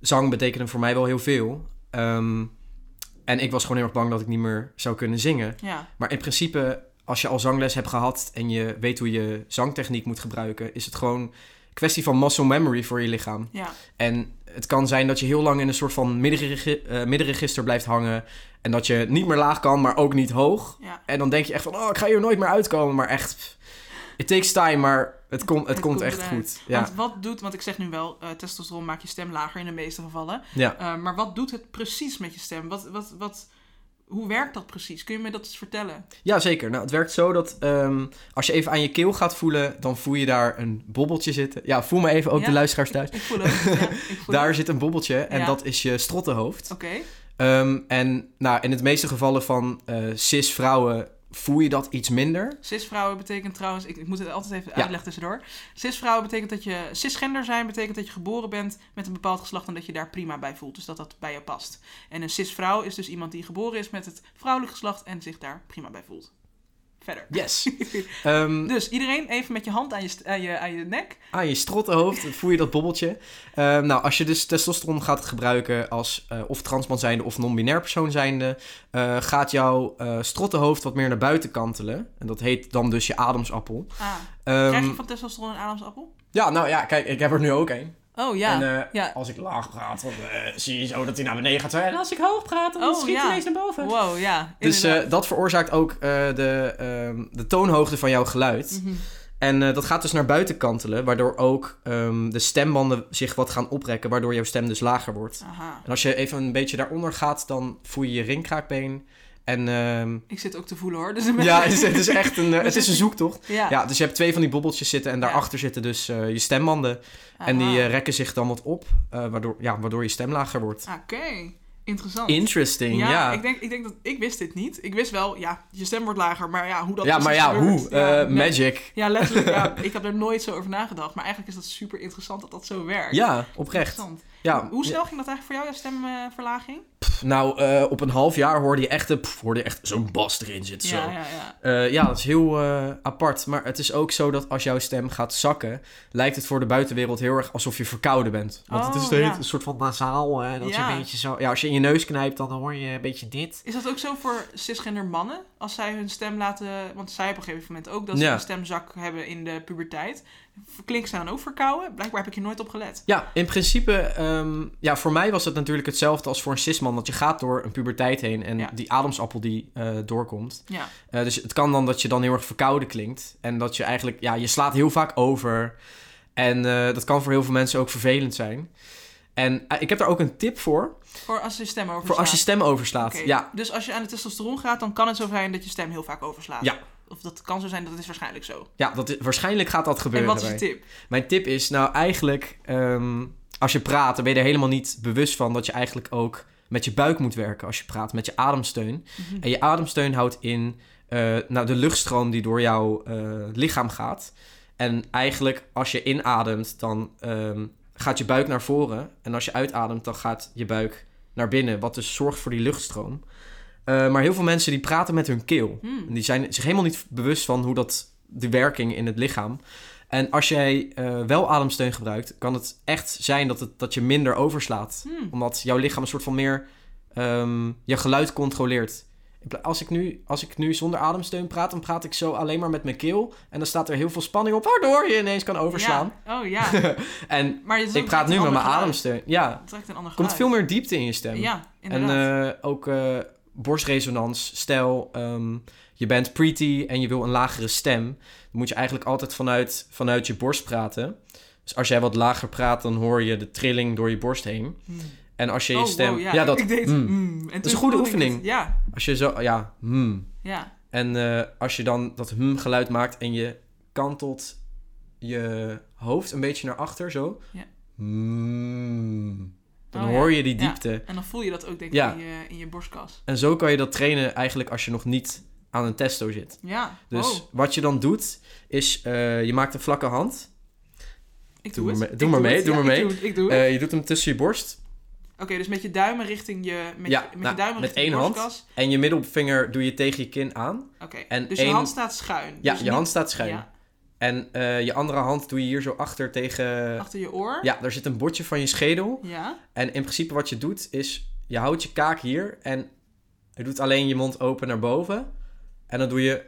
zang betekende voor mij wel heel veel. Ehm, en ik was gewoon heel erg bang dat ik niet meer zou kunnen zingen. Ja, Maar in principe, als je al zangles hebt gehad en je weet hoe je zangtechniek moet gebruiken, is het gewoon een kwestie van muscle memory voor je lichaam. ja, En het kan zijn dat je heel lang in een soort van middenregi- eh, middenregister blijft hangen en dat je niet meer laag kan, maar ook niet hoog. ja. En dan denk je echt van, oh, ik ga hier nooit meer uitkomen. Maar echt, pff, it takes time, maar het, komt het, Het komt komt echt eruit. goed. Ja, Want wat doet, want ik zeg nu wel, eh, testosteron maakt je stem lager in de meeste gevallen. ja. Eh, maar wat doet het precies met je stem? Wat, wat, wat, hoe werkt dat precies? Kun je me dat eens vertellen? ja zeker. Nou, het werkt zo dat ehm, als je even aan je keel gaat voelen, dan voel je daar een bobbeltje zitten. Ja, voel me even, ook Ja. de luisteraars thuis. Ik voel het. ja, ik voel Daar het. zit een bobbeltje en Ja. dat is je strottenhoofd. Oké, Ehm, en nou, in het meeste gevallen van eh, cis-vrouwen voel je dat iets minder. cisvrouwen betekent trouwens, ik, ik moet het altijd even Ja. uitleggen tussendoor. Cisvrouwen betekent dat je cisgender zijn, betekent dat je geboren bent met een bepaald geslacht en dat je daar prima bij voelt. Dus dat dat bij je past. En een cisvrouw is dus iemand die geboren is met het vrouwelijk geslacht en zich daar prima bij voelt. Verder. Yes. Ehm, Dus iedereen even met je hand aan je, st- aan je, aan je nek. aan je strottenhoofd voel je dat bobbeltje. Ehm, nou, als je dus testosteron gaat gebruiken als eh, of transman zijnde of non-binair persoon zijnde, eh, gaat jouw eh strottenhoofd wat meer naar buiten kantelen. En dat heet dan dus je ademsappel. Ah, Ehm, krijg je van testosteron een adamsappel? Ja, nou ja, kijk, ik heb er nu ook een. Oh ja. en eh, ja. als ik laag praat, dan eh, zie je zo dat hij naar beneden gaat. En als ik oh, schiet ja. ineens naar boven. Wow, ja. Dus eh, inderdaad. dat veroorzaakt ook eh, de, ehm, de toonhoogte van jouw geluid. Mhm. En eh, dat gaat dus naar buiten kantelen, waardoor ook ehm, de stembanden zich wat gaan oprekken, waardoor jouw stem dus lager wordt. Aha. En als je even een beetje daaronder gaat, dan voel je je ringkraakbeen. En ehm, Ik zit ook te voelen hoor. Dus ja, het is, het is echt een, eh, het is zitten- een zoektocht. Ja. Ja, dus je hebt twee van die bobbeltjes zitten en daarachter zitten dus eh, je stembanden. En die Aha. eh, rekken zich dan wat op, eh, waardoor, ja, waardoor je stem lager wordt. Oké, interessant. Interesting, Oh. ja, eh, ja. Ik, denk, ik denk dat ik wist dit niet. Ik wist wel, ja, je stem wordt lager, maar ja, hoe dat ja, maar precies ja, gebeurt. hoe? Ja, Eh, nee. magic. Ja, letterlijk. ja, ik heb er nooit zo over nagedacht, maar eigenlijk is dat super interessant dat dat zo werkt. Ja, oprecht. Interessant. Ja, Hoe snel ging dat eigenlijk voor jou, jouw stemverlaging? Nou, eh, op een half jaar hoorde je echt, eh, pff, hoorde je echt zo'n bas erin zitten. Zo. ja, Ja, ja, ja. ja, dat is heel eh, apart. Maar het is ook zo dat als jouw stem gaat zakken, lijkt het voor de buitenwereld heel erg alsof je verkouden bent. Want het is Oh, de hele- ja. een soort van nasaal. eh, dat je Ja. een beetje zo. Ja, als je in je neus knijpt, dan hoor je een beetje dit. Is dat ook zo voor cisgender mannen? Als zij hun stem laten... Want zij op een gegeven moment ook dat ze Ja. een stemzak hebben in de puberteit. Klinkt ze dan ook verkouden? Blijkbaar heb ik hier nooit op gelet. Ja, in principe, ehm, ja, voor mij was het natuurlijk hetzelfde als voor een cisman. Dat je gaat door een puberteit heen en Ja. die ademsappel die eh, doorkomt. Ja. Eh, dus het kan dan dat je dan heel erg verkouden klinkt. En dat je eigenlijk, ja, je slaat heel vaak over. En eh, dat kan voor heel veel mensen ook vervelend zijn. En eh, ik heb daar ook een tip voor. Voor als je stem overslaat. Voor als je stem overslaat. Oh, Oké, Ja, Dus als je aan de testosteron gaat, dan kan het zo zijn dat je stem heel vaak overslaat. Ja. Of dat kan zo zijn, dat is waarschijnlijk zo. ja dat is- waarschijnlijk gaat dat en gebeuren. wat is je bij- tip? Mijn tip is nou eigenlijk... ehm, als je praat, dan ben je er helemaal niet bewust van... dat je eigenlijk ook met je buik moet werken als je praat. Met je ademsteun. Mhm. En je ademsteun houdt in eh, nou, de luchtstroom die door jouw eh, lichaam gaat. En eigenlijk als je inademt, dan ehm, gaat je buik naar voren. En als je uitademt, dan gaat je buik naar binnen. Wat dus zorgt voor die luchtstroom. Eh, maar heel veel mensen die praten met hun keel. Hmm. En Die zijn zich helemaal niet bewust van hoe dat, de werking in het lichaam. En als jij eh, wel ademsteun gebruikt, kan het echt zijn dat, het, dat je minder overslaat. Hmm. Omdat jouw lichaam een soort van meer ehm, je geluid controleert. In pla- Als ik, nu, als ik nu zonder ademsteun praat, dan praat ik zo alleen maar met mijn keel. En dan staat er heel veel spanning op, waardoor je ineens kan overslaan. Ja. Oh ja. En Maar het is ik ook praat direct nu een ander met mijn geluid. ademsteun. Ja, Het trekt een ander er komt geluid. veel meer diepte in je stem. Ja, en inderdaad. eh, ook eh, borstresonans. Stel, ehm, je bent pretty en je wil een lagere stem, dan moet je eigenlijk altijd vanuit, vanuit je borst praten. Dus als jij wat lager praat, dan hoor je de trilling door je borst heen. En als je je oh, eh, stem... wow, ja, dat, ik deed, mm. mm. En toen een voelde goede ik het. oefening. Ja, Als je zo... Ja, hmm. ja. En eh, als je dan dat hmm geluid maakt en je kantelt je hoofd een beetje naar achter, zo. Ja. Hmm. dan Oh, ja. hoor je die Ja. diepte. En dan voel je dat ook denk ik Ja. in, je, in je borstkas. En zo kan je dat trainen eigenlijk als je nog niet aan een testo zit. Ja, oh, Dus wat je dan doet, is eh, je maakt een vlakke hand. ik doe doe, maar het. me- Ik doe maar mee, het. doe Ja, maar ik mee. doe het, Ik doe het. Eh, je doet hem tussen je borst. Oké, dus met je duimen richting je, met Ja, je, met nou, je duimen met richting één je hand. borstkas. En je middelvinger doe je tegen je kin aan. Oké, En dus één- je hand staat schuin. Ja, Dus je niet- hand staat schuin. Ja, En eh, je andere hand doe je hier zo achter tegen... achter je oor. Ja, daar zit een botje van je schedel. Ja. En in principe wat je doet is, je houdt je kaak hier en je doet alleen je mond open naar boven. En dan doe je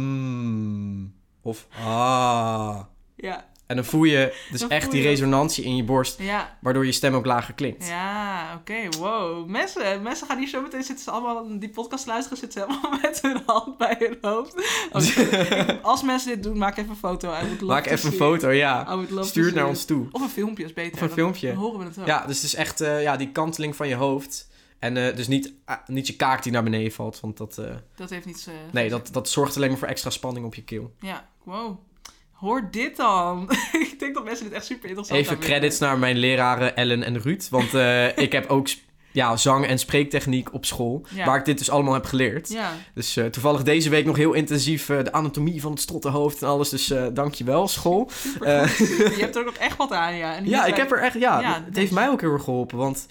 mm, of ah. Ja. En dan voel je dus Dan echt voel die je dat. resonantie in je borst, Ja. waardoor je stem ook lager klinkt. Ja, oké, wow. Mensen, mensen gaan hier zo meteen zitten ze allemaal die podcast te luisteren, zitten ze helemaal met hun hand bij hun hoofd. Oh, ik- als mensen dit doen, maak even een foto. I would love Maak to even een see foto, it. I ja. would love to Stuur het see naar it. ons toe. Of een filmpje is beter. Of een dan- filmpje. Dan horen we het ook. Ja, dus het is echt eh, ja, die kanteling van je hoofd. En eh, dus niet, ah, niet je kaak die naar beneden valt, want dat, eh, Dat heeft niets... eh, nee, dat, dat zorgt alleen maar voor extra spanning op je keel. Ja, wow. Hoor dit dan. ik denk dat mensen dit echt super interessant Even gaan vinden. credits naar mijn leraren Ellen en Ruud. Want eh, ik heb ook sp- ja, zang- en spreektechniek op school. Ja. Waar ik dit dus allemaal heb geleerd. Ja, Dus eh, toevallig deze week nog heel intensief eh, de anatomie van het strottenhoofd en alles. Dus eh dankjewel, school. super Eh, Je hebt er ook nog echt wat aan, ja. En ja, hierbij- ik heb er echt. Ja, Ja, het dus- heeft mij ook heel erg geholpen. Want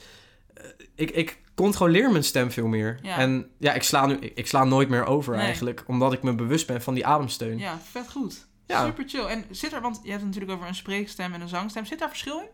eh, ik, ik controleer mijn stem veel meer. Ja. En ja, ik sla, nu, ik sla nooit meer over Nee. eigenlijk. Omdat ik me bewust ben van die ademsteun. Ja, vet goed. Ja. Super chill. En zit er, want je hebt het natuurlijk over een spreekstem en een zangstem. Zit daar verschil in?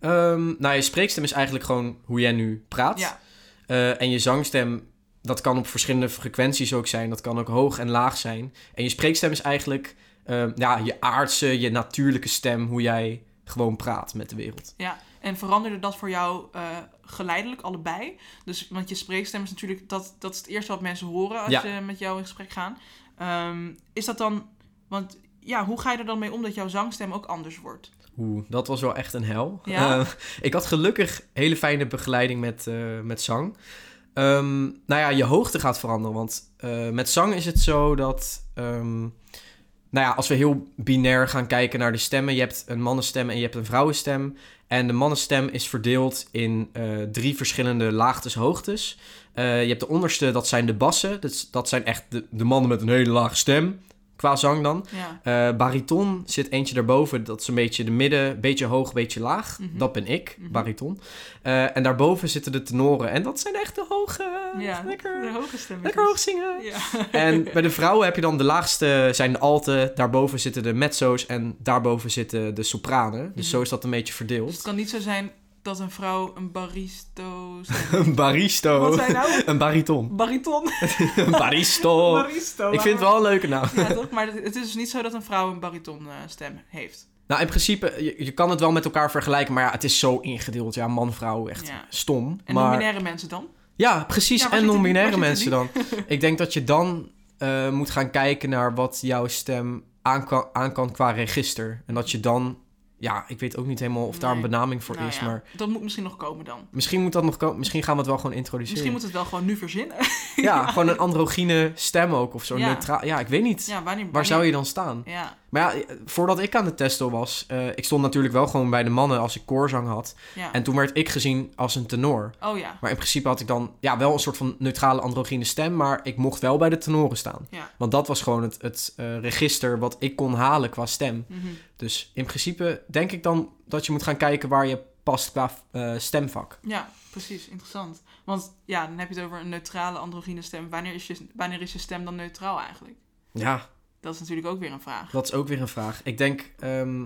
Ehm, nou, je spreekstem is eigenlijk gewoon hoe jij nu praat. Ja. Eh, en je zangstem, dat kan op verschillende frequenties ook zijn. Dat kan ook hoog en laag zijn. En je spreekstem is eigenlijk ehm, ja, je aardse, je natuurlijke stem. Hoe jij gewoon praat met de wereld. Ja. En veranderde dat voor jou eh, geleidelijk allebei? Dus, want je spreekstem is natuurlijk, dat, dat is het eerste wat mensen horen als Ja. ze met jou in gesprek gaan. Ehm, is dat dan, want ja, hoe ga je er dan mee om dat jouw zangstem ook anders wordt? Oeh, dat was wel echt een hel. Ja? Eh, ik had gelukkig hele fijne begeleiding met, eh, met zang. Ehm, nou ja, je hoogte gaat veranderen. Want eh, met zang is het zo dat... ehm, nou ja, als we heel binair gaan kijken naar de stemmen. Je hebt een mannenstem en je hebt een vrouwenstem. En de mannenstem is verdeeld in eh, drie verschillende laagtes, hoogtes. Eh, je hebt de onderste, dat zijn de bassen. Dat, is- dat zijn echt de, de mannen met een hele lage stem. Qua zang dan. Ja. Eh, bariton zit eentje daarboven. Dat is een beetje de midden. Beetje hoog, beetje laag. Mhm. Dat ben ik, Mhm. bariton. Eh, en daarboven zitten de tenoren. En dat zijn echt de hoge. Ja, de lekker, hoge stem. lekker hoog zingen. Ja. En bij de vrouwen heb je dan de laagste zijn de alten. Daarboven zitten de mezzo's. En daarboven zitten de sopranen. Dus Mhm. zo is dat een beetje Dus het verdeeld. kan niet zo zijn dat een vrouw een baristo... Een Wat baristo. zijn nou? Een bariton. Bariton. Een baristo. baristo. Oh. Ik vind het wel een leuke naam. Ja, toch? Maar het is dus niet zo dat een vrouw een bariton eh, stem heeft. Nou, in principe, je, je kan het wel met elkaar vergelijken. Maar ja, het is zo ingedeeld. Ja, man, vrouw, echt Ja. stom. En maar... nominaire mensen dan? Ja, precies. Ja, waar en zitten die- non-binaire waar mensen zitten dan. Ik denk dat je dan eh, moet gaan kijken naar wat jouw stem aan kan, aan kan qua register. En dat je dan, ja, ik weet ook niet helemaal of daar Nee. een benaming voor Nou is, ja, maar Dat moet misschien nog komen dan. misschien moet dat nog komen. Misschien gaan we het wel gewoon introduceren. Misschien moet het wel gewoon nu verzinnen. ja, gewoon een androgyne stem ook of zo. Ja. Neutraal. Ja, ik weet niet. Ja, wanneer, Waar zou je dan staan? Ja, Maar ja, eh, voordat ik aan de testo was, eh, ik stond natuurlijk wel gewoon bij de mannen als ik koorzang had. ja. En toen werd ik gezien als een tenor. Oh ja. Maar in principe had ik dan ja, wel een soort van neutrale androgyne stem, maar ik mocht wel bij de tenoren staan. Ja. Want dat was gewoon het, het eh, register wat ik kon halen qua stem. Mhm. Dus in principe denk ik dan dat je moet gaan kijken waar je past qua eh, stemvak. Ja, precies. Interessant. Want ja, dan heb je het over een neutrale androgyne stem. Wanneer is je, wanneer is je stem dan neutraal eigenlijk? Ja, Dat is natuurlijk ook weer een vraag. dat is ook weer een vraag. Ik denk. ehm,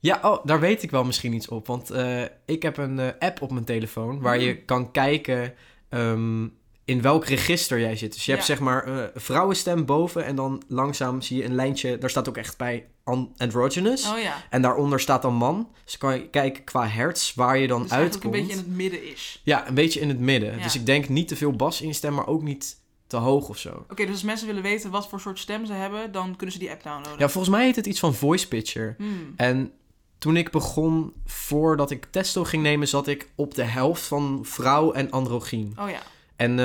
Ja, oh, daar weet ik wel misschien iets op. Want eh, ik heb een eh, app op mijn telefoon waar Mm. je kan kijken ehm, in welk register jij zit. Dus je hebt Ja. zeg maar eh, vrouwenstem boven en dan langzaam zie je een lijntje. Daar staat ook echt bij an- androgynous. Oh ja. En daaronder staat dan man. Dus dan kan je kijken qua hertz waar je dan Dus eigenlijk uitkomt. een beetje in het midden is. Ja, een beetje in het midden. Ja. Dus ik denk niet te veel bas in je stem, maar ook niet te hoog of zo. Oké, dus als mensen willen weten wat voor soort stem ze hebben, dan kunnen ze die app downloaden. Ja, volgens mij heet het iets van voice pitcher. Hmm. En toen ik begon, voordat ik testo ging nemen, zat ik op de helft van vrouw en androgyn. Oh ja. En eh,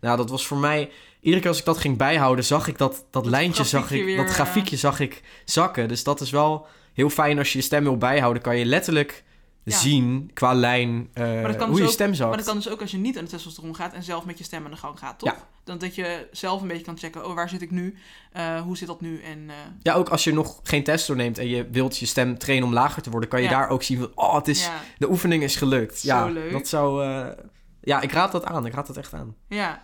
nou, dat was voor mij... Iedere keer als ik dat ging bijhouden, zag ik dat, dat, lijntje, zag ik, grafiekje weer, dat eh. grafiekje zag ik zakken. Dus dat is wel heel fijn als je je stem wil bijhouden. Kan je letterlijk Ja. zien qua lijn eh, dat kan hoe dus je ook- stem zakt. Maar dat kan dus ook als je niet aan het testosteron gaat en zelf met je stem aan de gang gaat, toch? Ja. Dan dat je zelf een beetje kan checken, oh, waar zit ik nu? Eh, hoe zit dat nu? En eh, Ja, ook als je nog geen testo neemt en je wilt je stem trainen om lager te worden... kan je Ja. daar ook zien van, oh, het is, ja, de oefening is gelukt. Zo ja, leuk. Dat zou, eh, ja, ik raad dat aan. Ik raad dat echt aan. ja.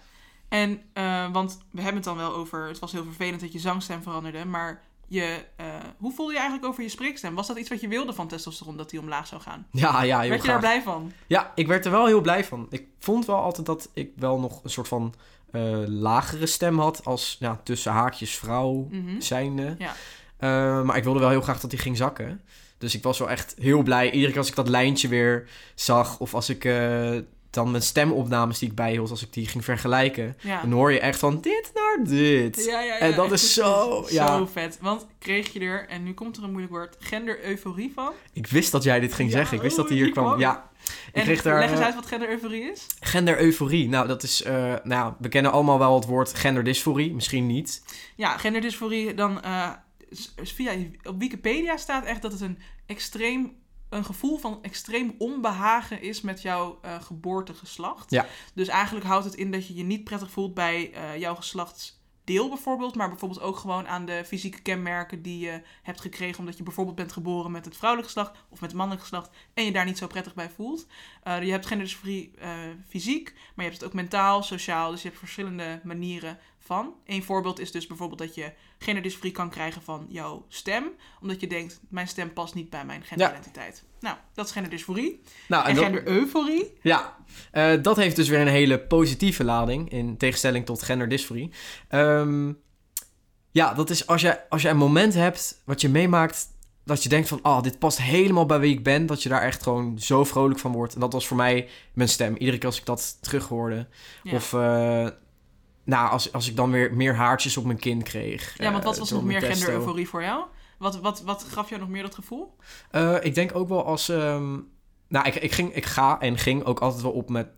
En, eh, want we hebben het dan wel over, het was heel vervelend dat je zangstem veranderde, maar je, eh, hoe voelde je eigenlijk over je spreekstem? Was dat iets wat je wilde van testosteron, dat die omlaag zou gaan? Ja, ja, heel Werd je daar Ah, graag. blij van? Ja, ik werd er wel heel blij van. Ik vond wel altijd dat ik wel nog een soort van eh, lagere stem had. Als ja, tussen haakjes vrouw Mhm. zijnde. Ja. Eh, maar ik wilde wel heel graag dat die ging zakken. Dus ik was wel echt heel blij. Iedere keer als ik dat lijntje weer zag. Of als ik eh, dan mijn stemopnames die ik bijhield. Als ik die ging vergelijken. Ja. Dan hoor je echt van dit naar dit. Ja, ja, ja, En dat echt is precies. zo- ja. Zo vet. Want kreeg je er, en nu komt er een moeilijk woord, gender-euforie van. Ik wist dat jij dit ging Ja, zeggen. Ik wist dat hij oh, hier die kwam. kwam. Ja. En kreeg daar, leg eens eh, uit wat gender-euforie is. Gender-euforie. Nou, dat is. eh, nou, ja, we kennen allemaal wel het woord genderdysforie. Misschien niet. Ja, genderdysforie, dan eh, s- via, op Wikipedia staat echt dat het een extreem een gevoel van extreem onbehagen is met jouw eh, geboortegeslacht. Ja. Dus eigenlijk houdt het in dat je je niet prettig voelt bij eh, jouw geslachtsdeel bijvoorbeeld, maar bijvoorbeeld ook gewoon aan de fysieke kenmerken die je hebt gekregen omdat je bijvoorbeeld bent geboren met het vrouwelijk geslacht of met het mannelijk geslacht en je daar niet zo prettig bij voelt. Eh, je hebt genderdysforie eh, fysiek, maar je hebt het ook mentaal, sociaal, dus je hebt verschillende manieren van. Een voorbeeld is dus bijvoorbeeld dat je genderdysforie kan krijgen van jouw stem, omdat je denkt, mijn stem past niet bij mijn genderidentiteit. Nou, dat is genderdysforie. Nou, En, en dat- gendereuforie. ja, eh, dat heeft dus weer een hele positieve lading in tegenstelling tot genderdysforie. Ehm, ja, dat is als jij, als jij een moment hebt wat je meemaakt dat je denkt van, ah, dit past helemaal bij wie ik ben, dat je daar echt gewoon zo vrolijk van wordt. En dat was voor mij mijn stem. Iedere keer als ik dat terughoorde. Ja. Of, eh, nou, als, als ik dan weer meer haartjes op mijn kin kreeg. Eh, Ja, want wat was nog meer gendereuforie? gendereuforie voor jou? Wat, wat, wat gaf jou nog meer dat gevoel? Eh, ik denk ook wel als. ehm, nou, ik, ik, ging, ik ga en ging ook altijd wel op met,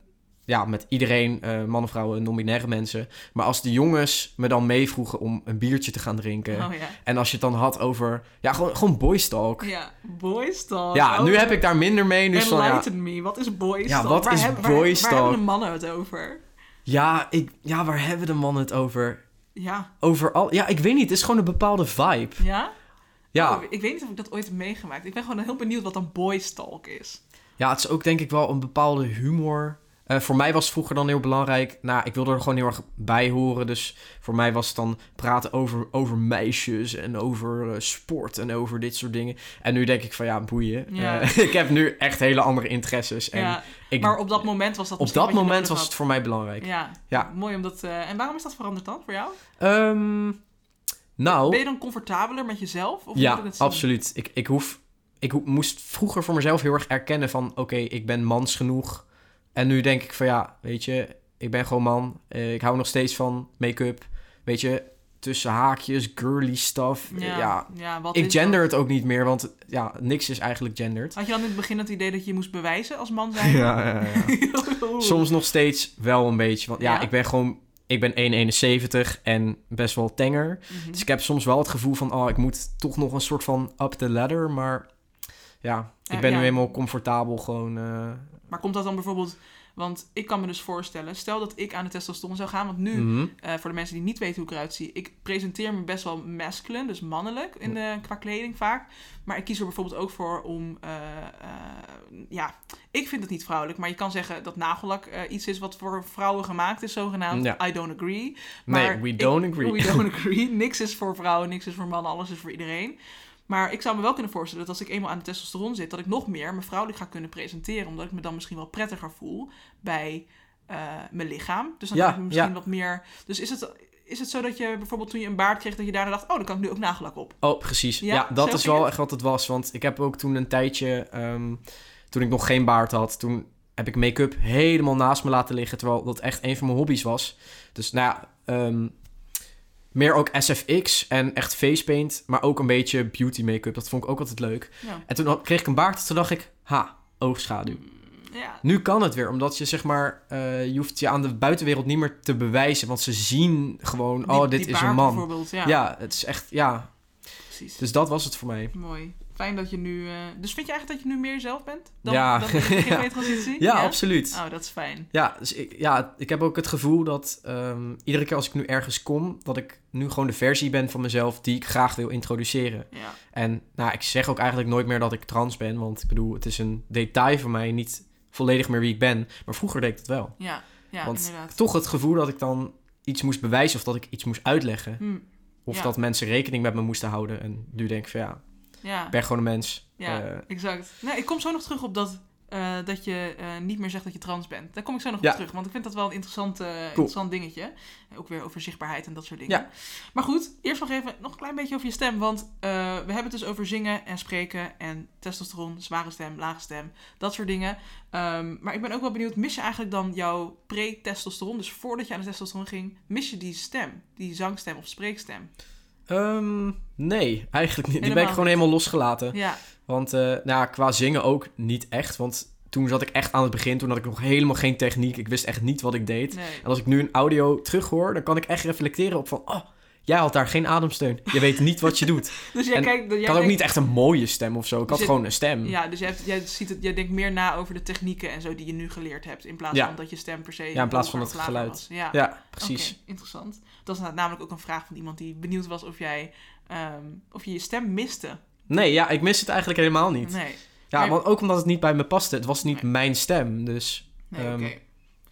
ja, met iedereen, eh mannen, vrouwen, non-binaire mensen. Maar als de jongens me dan meevroegen om een biertje te gaan drinken. Oh ja. En als je het dan had over. Ja, gewoon, gewoon boys talk. Ja, boys talk. Ja, nu Oh, heb ik daar minder mee. Nu is van, ja, Enlighten me, wat is boys Ja, talk? wat Waar is heb- boys waar, Waar talk? hebben de mannen het over? ja, ik, ja, waar hebben de mannen het over? Ja, Overal. Ja, ik weet niet. Het is gewoon een bepaalde vibe. ja? Ja, Oh, ik weet niet of ik dat ooit heb meegemaakt. Ik ben gewoon heel benieuwd wat dan boys talk is. Ja, het is ook denk ik wel een bepaalde humor. Eh, voor mij was vroeger dan heel belangrijk. Nou, ik wilde er gewoon heel erg bij horen. Dus voor mij was het dan praten over, over meisjes en over eh, sport en over dit soort dingen. En nu denk ik van ja, boeien. Ja. Eh, ik heb nu echt hele andere interesses. En ja, ik, maar op dat moment was dat op misschien dat wat je moment nodig was het voor mij belangrijk. had. Ja, Ja. mooi omdat... eh, en waarom is dat veranderd dan voor jou? Ehm, nou, Ben je dan comfortabeler met jezelf? Of moet ja, ik het zien? absoluut. Ik, ik, hoef, ik ho- moest vroeger voor mezelf heel erg erkennen van... oké, ik ben mans genoeg. En nu denk ik van ja, weet je... ik ben gewoon man. Eh, ik hou nog steeds van make-up. Weet je, tussen haakjes, girly stuff. Eh, Ja, Ja, ja, wat ik is gender dat? het ook niet meer, want ja, niks is eigenlijk gendered. Had je dan in het begin het idee dat je je moest bewijzen als man zijn? ja, ja. Soms nog steeds wel een beetje. Want ja, Ja? ik ben gewoon... Ik ben 1,71 en best wel tenger. Mhm. Dus ik heb soms wel het gevoel van... Oh, ik moet toch nog een soort van up the ladder. Maar ja, ik Eh, ben ja. nu eenmaal comfortabel gewoon... eh, Maar komt dat dan bijvoorbeeld... Want ik kan me dus voorstellen... Stel dat ik aan de testosteron zou gaan... Want nu, mhm. eh, voor de mensen die niet weten hoe ik eruit zie... Ik presenteer me best wel masculine, dus mannelijk in de, qua kleding vaak. Maar ik kies er bijvoorbeeld ook voor om... eh, eh, ja, ik vind het niet vrouwelijk. Maar je kan zeggen dat nagellak eh, iets is wat voor vrouwen gemaakt is, zogenaamd. Ja. I don't agree. Nee, Maar we ik- don't agree. We don't agree. Niks is voor vrouwen, niks is voor mannen, alles is voor iedereen. Maar ik zou me wel kunnen voorstellen dat als ik eenmaal aan de testosteron zit, dat ik nog meer me vrouwelijk ga kunnen presenteren. Omdat ik me dan misschien wel prettiger voel bij eh, mijn lichaam. Dus dan Ja, kan ik me misschien ja. wat meer. Dus is het, is het zo dat je bijvoorbeeld toen je een baard kreeg, dat je daarna dacht: oh, dan kan ik nu ook nagellak op? Oh, precies. Ja, Ja, zo dat is ging wel het. echt wat het was. Want ik heb ook toen een tijdje... ehm, toen ik nog geen baard had, toen heb ik make-up helemaal naast me laten liggen. Terwijl dat echt een van mijn hobby's was. Dus nou ja, ehm, meer ook SFX en echt facepaint, maar ook een beetje beauty make-up. Dat vond ik ook altijd leuk. Ja. En toen had- kreeg ik een baard en toen dacht ik, ha, oogschaduw. Ja. Nu kan het weer, omdat je zeg maar, eh, je hoeft je aan de buitenwereld niet meer te bewijzen, want ze zien gewoon, Die- oh, die dit is baard een man. Bijvoorbeeld. Ja. Ja, het is echt, ja. precies. Dus dat was het voor mij. Mooi. Fijn dat je nu... eh, Dus vind je eigenlijk dat je nu meer zelf bent? Dan, Ja. Dan in de Ja. transitie? Ja, absoluut. Oh, dat is fijn. Ja, dus ik, ja, ik heb ook het gevoel dat ehm, iedere keer als ik nu ergens kom, dat ik nu gewoon de versie ben van mezelf die ik graag wil introduceren. Ja. En nou, ik zeg ook eigenlijk nooit meer dat ik trans ben, want ik bedoel, het is een detail van mij, niet volledig meer wie ik ben. Maar vroeger deed ik dat wel. Ja. Ja, Want inderdaad. Toch het gevoel dat ik dan iets moest bewijzen of dat ik iets moest uitleggen. Hm, Of Ja. dat mensen rekening met me moesten houden. En nu denk ik van ja, Ja. ik ben gewoon een mens. Ja, Eh, exact. Nee, ik kom zo nog terug op dat, eh, dat je eh, niet meer zegt dat je trans bent. Daar kom ik zo nog Ja. op terug, want ik vind dat wel een interessant, eh, interessant dingetje. Eh, Ook weer over zichtbaarheid en dat soort dingen. Ja. Maar goed, eerst nog even nog een klein beetje over je stem. Want eh, we hebben het dus over zingen en spreken en testosteron, zware stem, lage stem, dat soort dingen. Ehm, maar ik ben ook wel benieuwd, mis je eigenlijk dan jouw pre-testosteron, dus voordat je aan de testosteron ging, mis je die stem, die zangstem of spreekstem? ehm, nee, eigenlijk niet. Die ben ik Helemaal gewoon helemaal losgelaten. Ja, Want eh, nou ja, qua zingen ook niet echt. Want toen zat ik echt aan het begin. Toen had ik nog helemaal geen techniek. Ik wist echt niet wat ik deed. nee. En als ik nu een audio terughoor, dan kan ik echt reflecteren op van... Oh, jij had daar geen ademsteun. Je weet niet wat je doet. Dus jij En kijkt... jij Ik had ook denkt- niet echt een mooie stem of zo. Ik had zit- gewoon een stem. Ja, dus jij, hebt- jij, ziet het, jij denkt meer na over de technieken en zo die je nu geleerd hebt. In plaats Ja. van dat je stem per se. Ja, in plaats van hoger dat of lager geluid. was. Ja, Ja, Oké, precies. interessant. Dat is namelijk ook een vraag van iemand die benieuwd was of jij ehm, of je, je stem miste. Nee, ja, ik mis het eigenlijk helemaal niet. Nee. Ja, Maar- want ook omdat het niet bij me paste. Het was niet Nee. mijn stem, dus nee Ehm, oké.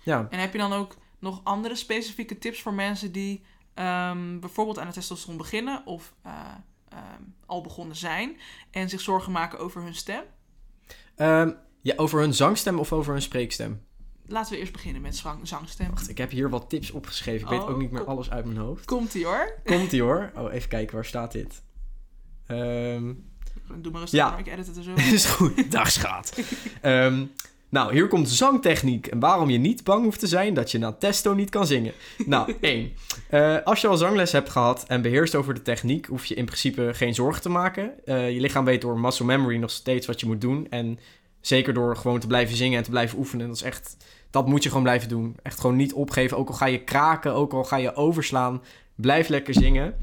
ja. En heb je dan ook nog andere specifieke tips voor mensen die ehm, bijvoorbeeld aan het testosteron beginnen of eh, ehm, al begonnen zijn en zich zorgen maken over hun stem? Ehm, ja, over hun zangstem of over hun spreekstem? Laten we eerst beginnen met zang, zangstem. Wacht, ik heb hier wat tips opgeschreven. Ik weet Oh, ook niet meer kom. alles uit mijn hoofd. Komt-ie hoor. Komt ie hoor. Oh, even kijken, waar staat dit? Ehm, Doe maar rustig, Ja. maar ik edit het er zo. is goed, dag schaat. Ehm, nou, hier komt zangtechniek en waarom je niet bang hoeft te zijn dat je na testo niet kan zingen. Nou, één. Eh, als je al zangles hebt gehad en beheerst over de techniek, hoef je in principe geen zorgen te maken. Eh, je lichaam weet door muscle memory nog steeds wat je moet doen. En zeker door gewoon te blijven zingen en te blijven oefenen. Dat is echt, dat moet je gewoon blijven doen. Echt gewoon niet opgeven, ook al ga je kraken, ook al ga je overslaan. Blijf lekker zingen.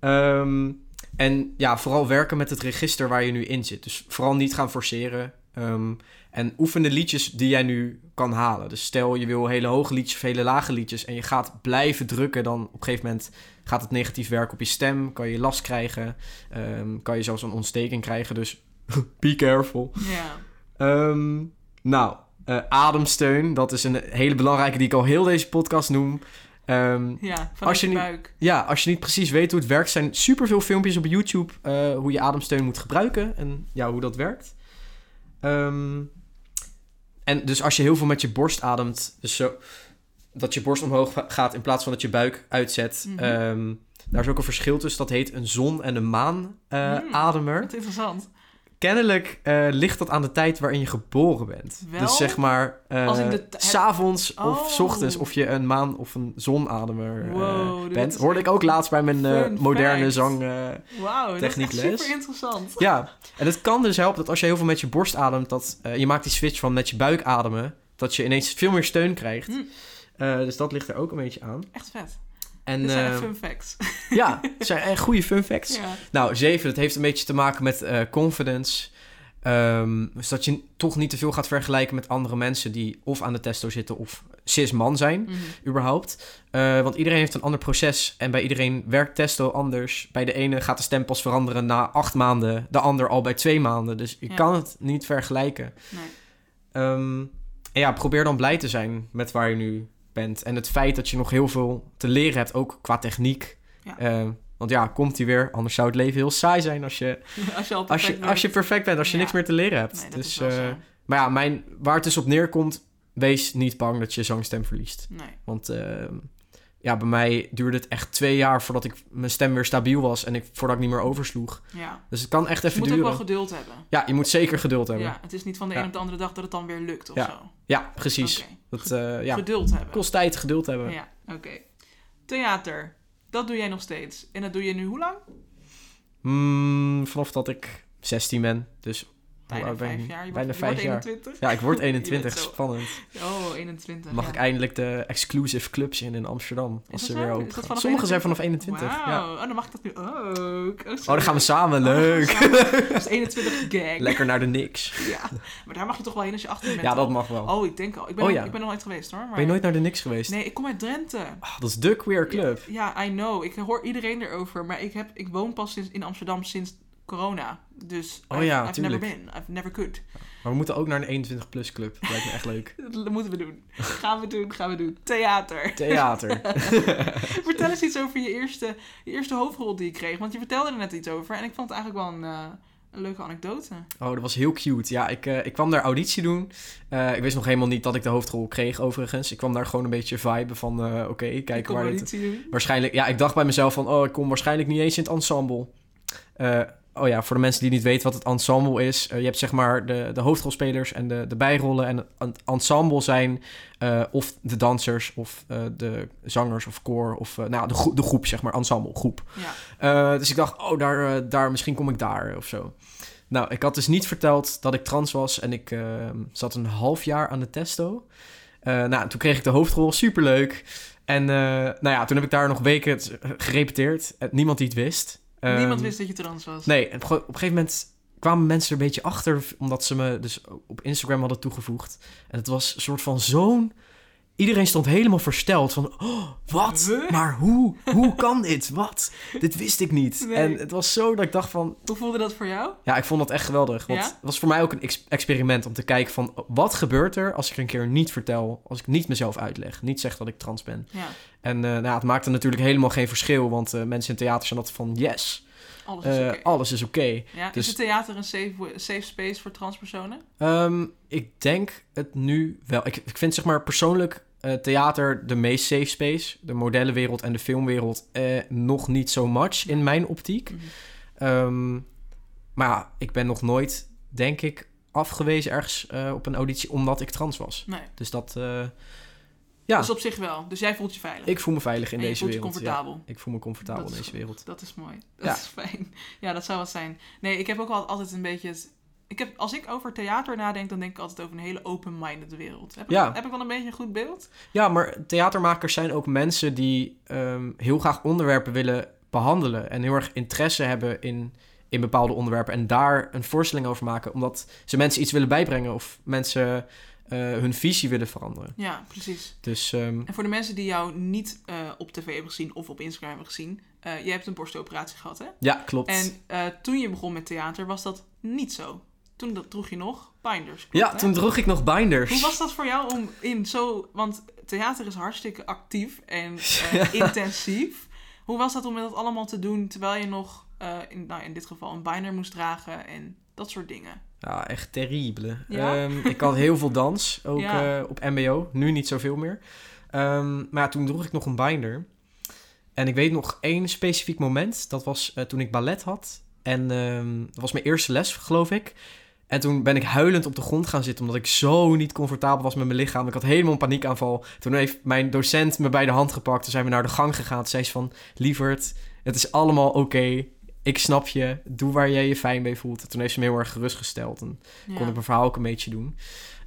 Ehm, en ja, vooral werken met het register waar je nu in zit. Dus vooral niet gaan forceren. Ehm, en oefen de liedjes die jij nu kan halen. Dus stel je wil hele hoge liedjes of hele lage liedjes. En je gaat blijven drukken. Dan op een gegeven moment gaat het negatief werken op je stem. Kan je last krijgen. Ehm, kan je zelfs een ontsteking krijgen. Dus be careful. Ja. Ehm, nou, eh, ademsteun. Dat is een hele belangrijke die ik al heel deze podcast noem. Ehm, Ja, van Als als je je, niet- buik. ja, als je niet precies weet hoe het werkt, zijn superveel filmpjes op YouTube eh, hoe je ademsteun moet gebruiken en ja, hoe dat werkt. Ehm, en dus als je heel veel met je borst ademt, dus zo dat je borst omhoog va- gaat in plaats van dat je buik uitzet. Mhm. ehm, daar is ook een verschil tussen, dat heet een zon- en een maanademer. Mm. ademer Wat interessant. Kennelijk eh, ligt dat aan de tijd waarin je geboren bent. Wel? Dus zeg maar, eh, Als in de t- s'avonds of Oh. s ochtends of je een maan- of een zonademer eh, Wow, dit bent. is Hoorde ik ook laatst bij mijn eh, fun moderne fact. zang. eh, Wauw, dat is echt Techniekles. super interessant. ja, en het kan dus helpen dat als je heel veel met je borst ademt, dat eh, je maakt die switch van met je buik ademen, dat je ineens veel meer steun krijgt. Hm. Eh, dus dat ligt er ook een beetje aan. Echt vet. En, Dit zijn eh, echt fun facts. ja, het zijn echt goede fun facts. ja. Nou, zeven, dat heeft een beetje te maken met eh, confidence. Ehm, dus dat je toch niet te veel gaat vergelijken met andere mensen die of aan de testo zitten of cis-man zijn, Mhm. überhaupt. Eh, want iedereen heeft een ander proces en bij iedereen werkt testo anders. Bij de ene gaat de stem pas veranderen na acht maanden, de ander al bij twee maanden. Dus je Ja. kan het niet vergelijken. Nee. Ehm, en ja, probeer dan blij te zijn met waar je nu bent. En het feit dat je nog heel veel te leren hebt, ook qua techniek. Ja. Eh, want ja, komt die weer. Anders zou het leven heel saai zijn als je, Als je al als je, perfect als je bent. perfect bent, als je Ja. niks meer te leren hebt. Nee, dat is dus, wel eh, zo. maar ja, mijn, waar het dus op neerkomt, wees niet bang dat je zangstem verliest. Nee. Want eh, ja, bij mij duurde het echt twee jaar voordat ik mijn stem weer stabiel was en ik, voordat ik niet meer oversloeg. Ja. Dus het kan echt Je even moet ook duren. wel geduld hebben. Ja, je moet zeker geduld hebben. Ja, Ja, het is niet van de Ja. ene op de andere dag dat het dan weer lukt of Ja, zo. precies. Oké. Dat eh, ja, eh, Geduld hebben. kost tijd, geduld hebben. Ja, oké. theater. Dat doe jij nog steeds. En dat doe je nu hoe lang? Hmm, vanaf dat ik 16 ben. Dus hoe Bijna oud ben ik vijf nu? jaar. Je Bijna wordt, je wordt vijf jaar. 21. Ja, ik word Je bent 21. zo- Spannend. Oh, 21. Mag ja. ik eindelijk de exclusive clubs in in Amsterdam. Als dat ze zo? weer Is open dat gaan. vanaf Sommige zijn vanaf 21. 21. Ja. Oh, dan mag ik dat nu ook. Oh, Oh, dan gaan we samen. Leuk. Dat is 21 gag. Lekker naar de niks. Ja. Maar daar mag je toch wel heen als je 18 bent. Ja, dat toch? mag wel. Oh, ik denk al. Ik ben, Oh, nog- ja. ik ben nog nooit geweest hoor. Maar... Ben je nooit naar de niks geweest? Nee, ik kom uit Drenthe. Ah, dat is de queer club. Ja, I know. Ik hoor iedereen erover. Maar ik, heb, ik woon pas sinds, in Amsterdam sinds corona. Dus Oh I've, ja, I've tuurlijk. never been. I've never could. Maar we moeten ook naar een 21-plus club. Dat lijkt me echt leuk. Dat moeten we doen. Gaan we doen, gaan we doen. Theater. Theater. Vertel eens iets over je eerste, je eerste hoofdrol die je kreeg. Want je vertelde er net iets over. En ik vond het eigenlijk wel een, eh, een leuke anekdote. Oh, dat was heel cute. Ja, ik, eh, ik kwam daar auditie doen. Eh, ik wist nog helemaal niet dat ik de hoofdrol kreeg, overigens. Ik kwam daar gewoon een beetje viben van, eh, oké, Ik kijken kom waar dit... auditie doen. Waarschijnlijk, ja, ik dacht bij mezelf van, oh, ik kom waarschijnlijk niet eens in het ensemble. Eh, oh ja, voor de mensen die niet weten wat het ensemble is. eh, je hebt zeg maar de, de hoofdrolspelers en de, de bijrollen. En het ensemble zijn eh, of de dansers of eh, de zangers of koor. Of eh, nou, de, gro- de groep zeg maar, ensemble, groep. Ja. Eh, dus ik dacht, oh, daar, eh, daar, misschien kom ik daar of zo. Nou, ik had dus niet verteld dat ik trans was en ik eh, zat een half jaar aan de testo. Eh, nou, toen kreeg ik de hoofdrol, superleuk. En eh, nou ja, toen heb ik daar nog weken het- gerepeteerd. Eh, Niemand die het wist. Ehm, Niemand wist dat je trans was. Nee, op, ge- op een gegeven moment kwamen mensen er een beetje achter, omdat ze me dus op Instagram hadden toegevoegd. En het was een soort van zo'n... Iedereen stond helemaal versteld van, oh, wat? Huh? Maar hoe? Hoe kan dit? Wat? Dit wist ik niet. Nee. En het was zo dat ik dacht van, Hoe voelde dat voor jou? ja, ik vond dat echt geweldig. Want Ja? het was voor mij ook een ex- experiment om te kijken van, wat gebeurt er als ik een keer niet vertel, als ik niet mezelf uitleg, niet zeg dat ik trans ben. Ja, En eh, nou, ja, het maakte natuurlijk helemaal geen verschil, want eh, mensen in theater zijn dat van, yes, alles is eh, oké. alles is oké. Ja, dus- Is het theater een safe, safe space voor transpersonen? Ehm, ik denk het nu wel. Ik, ik vind zeg maar persoonlijk eh, theater de meest safe space. De modellenwereld en de filmwereld eh, nog niet zo much in mijn optiek. Mhm. Ehm, maar ja, ik ben nog nooit, denk ik, afgewezen ergens eh, op een auditie omdat ik trans was. Nee. Dus dat, eh, ja, Dus op zich wel. Dus jij voelt je veilig. ik voel me veilig in en je deze voelt je wereld. ja. comfortabel. Ik voel me comfortabel Dat in is deze goed. wereld. Dat is mooi. Dat Ja. is fijn. Ja, dat zou wat zijn. Nee, ik heb ook al- altijd een beetje... het- Ik heb, als ik over theater nadenk, dan denk ik altijd over een hele open-minded wereld. Heb ik, Ja. heb ik dan een beetje een goed beeld? Ja, maar theatermakers zijn ook mensen die ehm, heel graag onderwerpen willen behandelen. En heel erg interesse hebben in, in bepaalde onderwerpen. En daar een voorstelling over maken. Omdat ze mensen iets willen bijbrengen. Of mensen eh, hun visie willen veranderen. Ja, precies. Dus ehm, En voor de mensen die jou niet eh, op tv hebben gezien of op Instagram hebben gezien... eh, jij hebt een borstoperatie gehad, hè? ja, klopt. En eh, toen je begon met theater was dat niet zo. Toen dat droeg je nog binders. klopt, ja, hè? toen droeg ik nog binders. Hoe was dat voor jou om in zo... Want theater is hartstikke actief en eh, intensief. Hoe was dat om dat allemaal te doen terwijl je nog, eh, in, nou, in dit geval, een binder moest dragen en dat soort dingen? Ja, echt terrible. Ja? Ehm, ik had heel veel dans, ook Ja. eh, op mbo. Nu niet zoveel meer. Ehm, maar ja, toen droeg ik nog een binder. En ik weet nog één specifiek moment. Dat was eh, toen ik ballet had. En ehm, dat was mijn eerste les, geloof ik. En toen ben ik huilend op de grond gaan zitten, omdat ik zo niet comfortabel was met mijn lichaam. Ik had helemaal een paniekaanval. Toen heeft mijn docent me bij de hand gepakt. Toen zijn we naar de gang gegaan. Toen zei ze van, lieverd, het is allemaal oké. Ik snap je. Doe waar jij je fijn mee voelt. En toen heeft ze me heel erg gerustgesteld. En Ja. kon ik mijn verhaal ook een beetje doen.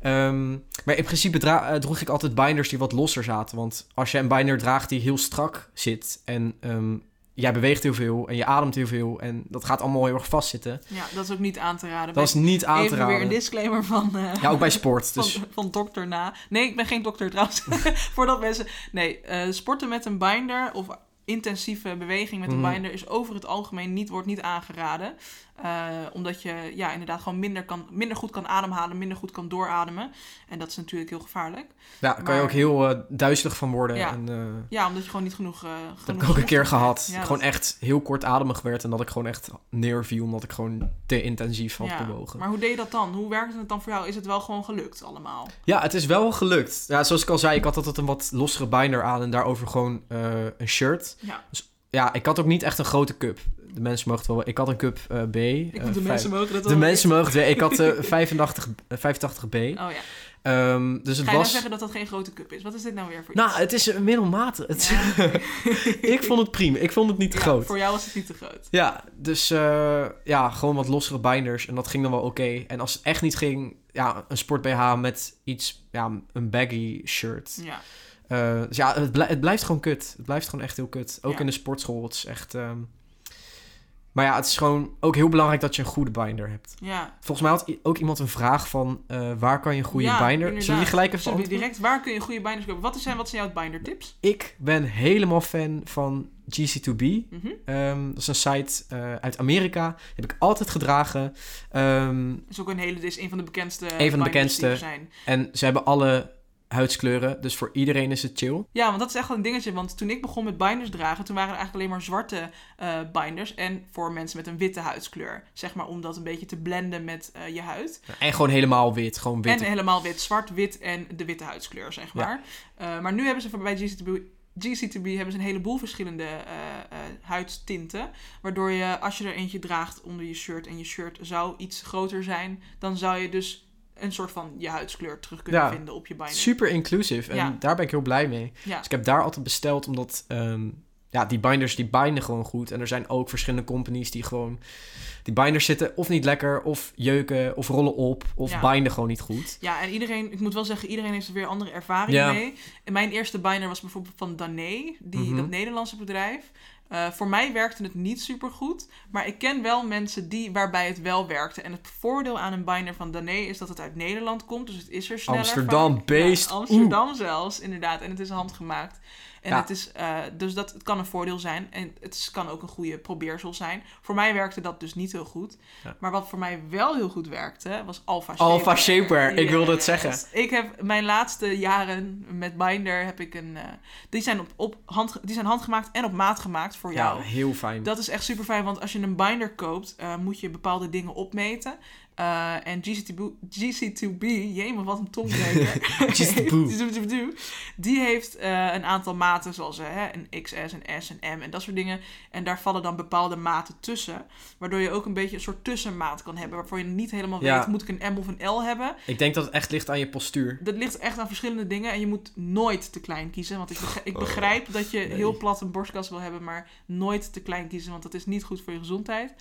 Ehm, maar in principe dra- eh, droeg ik altijd binders die wat losser zaten. Want als je een binder draagt die heel strak zit en ehm, jij beweegt heel veel en je ademt heel veel en dat gaat allemaal heel erg vastzitten. Ja, dat is ook niet aan te raden. Dat is niet aan te Even weer een raden. disclaimer van... eh, Ja, ook bij sport. Van, Dus van dokter na. Nee, ik ben geen dokter trouwens. Voordat mensen. Nee, eh, sporten met een binder of intensieve beweging met een Mhm. binder is over het algemeen niet, wordt niet aangeraden. Eh, omdat je ja, inderdaad gewoon minder, kan, minder goed kan ademhalen, minder goed kan doorademen. En dat is natuurlijk heel gevaarlijk. ja, daar kan je maar- ook heel eh, duizelig van worden. Ja. En, eh, Ja, omdat je gewoon niet genoeg. eh dat genoeg heb ik ook een keer oefening gehad. hebt. ik Ja, gewoon dat- echt heel kortademig werd en dat ik gewoon echt neerviel omdat ik gewoon te intensief had ja. bewogen. Maar hoe deed je dat dan? Hoe werkte het dan voor jou? Is het wel gewoon gelukt allemaal? Ja, het is wel gelukt. Ja, zoals ik al zei, ik had altijd een wat lossere binder aan en daarover gewoon eh, een shirt. Ja. Ja, ik had ook niet echt een grote cup. de mensen mogen het wel... Ik had een cup eh, B. Ik eh, moet de vijf- mensen mogen dat de wel weten. mensen mogen het weten. Ik had de 85, eh, 85B. Oh ja. Ehm, dus het Ga je nou was... zeggen dat dat geen grote cup is? Wat is dit nou weer voor Nou, iets? het is een middelmatig. Het is- ik vond het prima. Ik vond het niet te Ja, groot. Voor jou was het niet te groot. Ja, dus eh, ja, gewoon wat lossere binders. En dat ging dan wel oké. En als het echt niet ging, ja, een sport BH met iets, ja, een baggy shirt. Ja. Eh, dus ja, het, blij- het blijft gewoon kut. Het blijft gewoon echt heel kut. Ook Ja. in de sportschool. Het is echt. ehm, Maar ja, het is gewoon ook heel belangrijk dat je een goede binder hebt. ja. Volgens mij had i- ook iemand een vraag van eh, waar kan je een goede Ja, binder. Zullen inderdaad. we die gelijk even Zullen we antwoorden? direct, waar kun je goede binders kopen? Wat zijn, wat zijn jouw binder tips? Ik ben helemaal fan van GC2B. Mhm. Ehm, dat is een site eh, uit Amerika. Die heb ik altijd gedragen. Ehm, is ook een hele, is een van de bekendste. de binders bekendste. die er zijn. en ze hebben alle huidskleuren. Dus voor iedereen is het chill. Ja, want dat is echt wel een dingetje. Want toen ik begon met binders dragen, toen waren er eigenlijk alleen maar zwarte eh, binders. En voor mensen met een witte huidskleur. Zeg maar om dat een beetje te blenden met eh, je huid. En gewoon helemaal wit. Gewoon wit. En helemaal wit, zwart, wit en de witte huidskleur, zeg Ja. maar. Eh, maar nu hebben ze voor- bij GCTB, GCTB hebben ze een heleboel verschillende eh, eh, huidtinten. Waardoor je, als je er eentje draagt onder je shirt en je shirt zou iets groter zijn, dan zou je dus een soort van je huidskleur terug kunnen Ja. vinden op je binder. Super inclusief. En Ja. daar ben ik heel blij mee. Ja. Dus ik heb daar altijd besteld. Omdat ehm, ja, die binders die binden gewoon goed. En er zijn ook verschillende companies die gewoon... Die binders zitten of niet lekker. Of jeuken. Of rollen op. Of Ja. binden gewoon niet goed. Ja, en iedereen, ik moet wel zeggen, iedereen heeft er weer andere ervaring Ja. mee. En mijn eerste binder was bijvoorbeeld van Dané, die, Mhm. dat Nederlandse bedrijf. Eh, voor mij werkte het niet super goed, maar ik ken wel mensen die, waarbij het wel werkte. En het voordeel aan een binder van Dané is dat het uit Nederland komt, dus het is er sneller. Amsterdam, vaak. beest. Ja, Amsterdam zelfs, inderdaad. En het is handgemaakt. En Ja. het is, eh, dus dat het kan een voordeel zijn en het is- kan ook een goede probeersel zijn. Voor mij werkte dat dus niet heel goed. Ja. Maar wat voor mij wel heel goed werkte, was Alpha Shaper. Alpha Shaper. Ik wilde het zeggen. Yes. Ik heb mijn laatste jaren met Binder heb ik een. eh, die, zijn op, op hand, die zijn handgemaakt en op maat gemaakt voor jou. Ja, heel fijn. Dat is echt super fijn, want als je een binder koopt, eh, moet je bepaalde dingen opmeten. Eh, en GCTB, GC2B, jemig wat een tongbreker. GC2B. GC2B, Die heeft eh, een aantal maten, zoals eh, hè, een XS, een S, een M en dat soort dingen. En daar vallen dan bepaalde maten tussen. Waardoor je ook een beetje een soort tussenmaat kan hebben. Waarvoor je niet helemaal Ja. weet, moet ik een M of een L hebben? Ik denk dat het echt ligt aan je postuur. Dat ligt echt aan verschillende dingen. En je moet nooit te klein kiezen. Want ik, beg- Oh, ik begrijp dat je heel plat een borstkas wil hebben. Maar nooit te klein kiezen. Want dat is niet goed voor je gezondheid.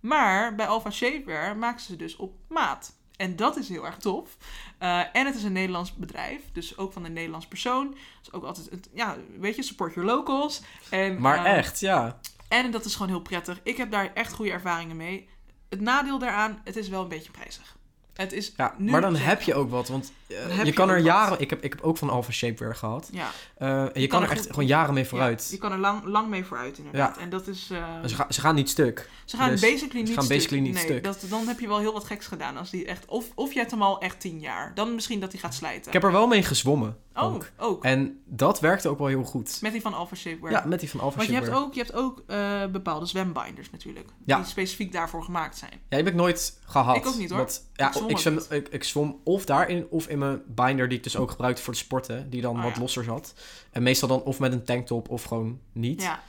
Maar bij Alpha Shapewear maken ze dus op maat. En dat is heel erg tof. Eh, en het is een Nederlands bedrijf. Dus ook van een Nederlands persoon. Dus ook altijd, het, ja, weet je, support your locals. En, Maar eh, echt, ja. En dat is gewoon heel prettig. Ik heb daar echt goede ervaringen mee. Het nadeel daaraan, het is wel een beetje prijzig. Het is ja nu maar dan zeg- heb je ook wat, want eh, Dan heb je je kan ook er wat. jaren... Ik heb, ik heb ook van Alpha Shapewear gehad. Ja. Eh, en je, kan, er echt goed- gewoon jaren mee Ja, vooruit. je kan er lang, lang mee vooruit, inderdaad. En dat is. eh, En Ze, ga- ze gaan niet stuk. ze gaan dus basically niet ze gaan stuk. basically niet nee, stuk. Dat, dan heb je wel heel wat geks gedaan. Als die echt, of, of je hebt hem al echt tien jaar. Dan misschien dat hij gaat slijten. Ik heb er wel mee gezwommen. oh, ook. ook. En dat werkte ook wel heel goed. Met die van Alpha Shapewear. Ja, met die van Alpha Want je Shapewear. hebt ook, je hebt ook eh, bepaalde zwembinders natuurlijk. Ja. Die specifiek daarvoor gemaakt zijn. Ja, die heb ik nooit gehad. Ik ook niet, hoor. Want, ja, Ik zwom ik, ook zwem, niet. ik, ik zwom of daarin of in mijn binder die ik dus ook gebruikte voor de sporten. Die dan Oh, wat ja. losser zat. En meestal dan of met een tanktop of gewoon niet. Ja.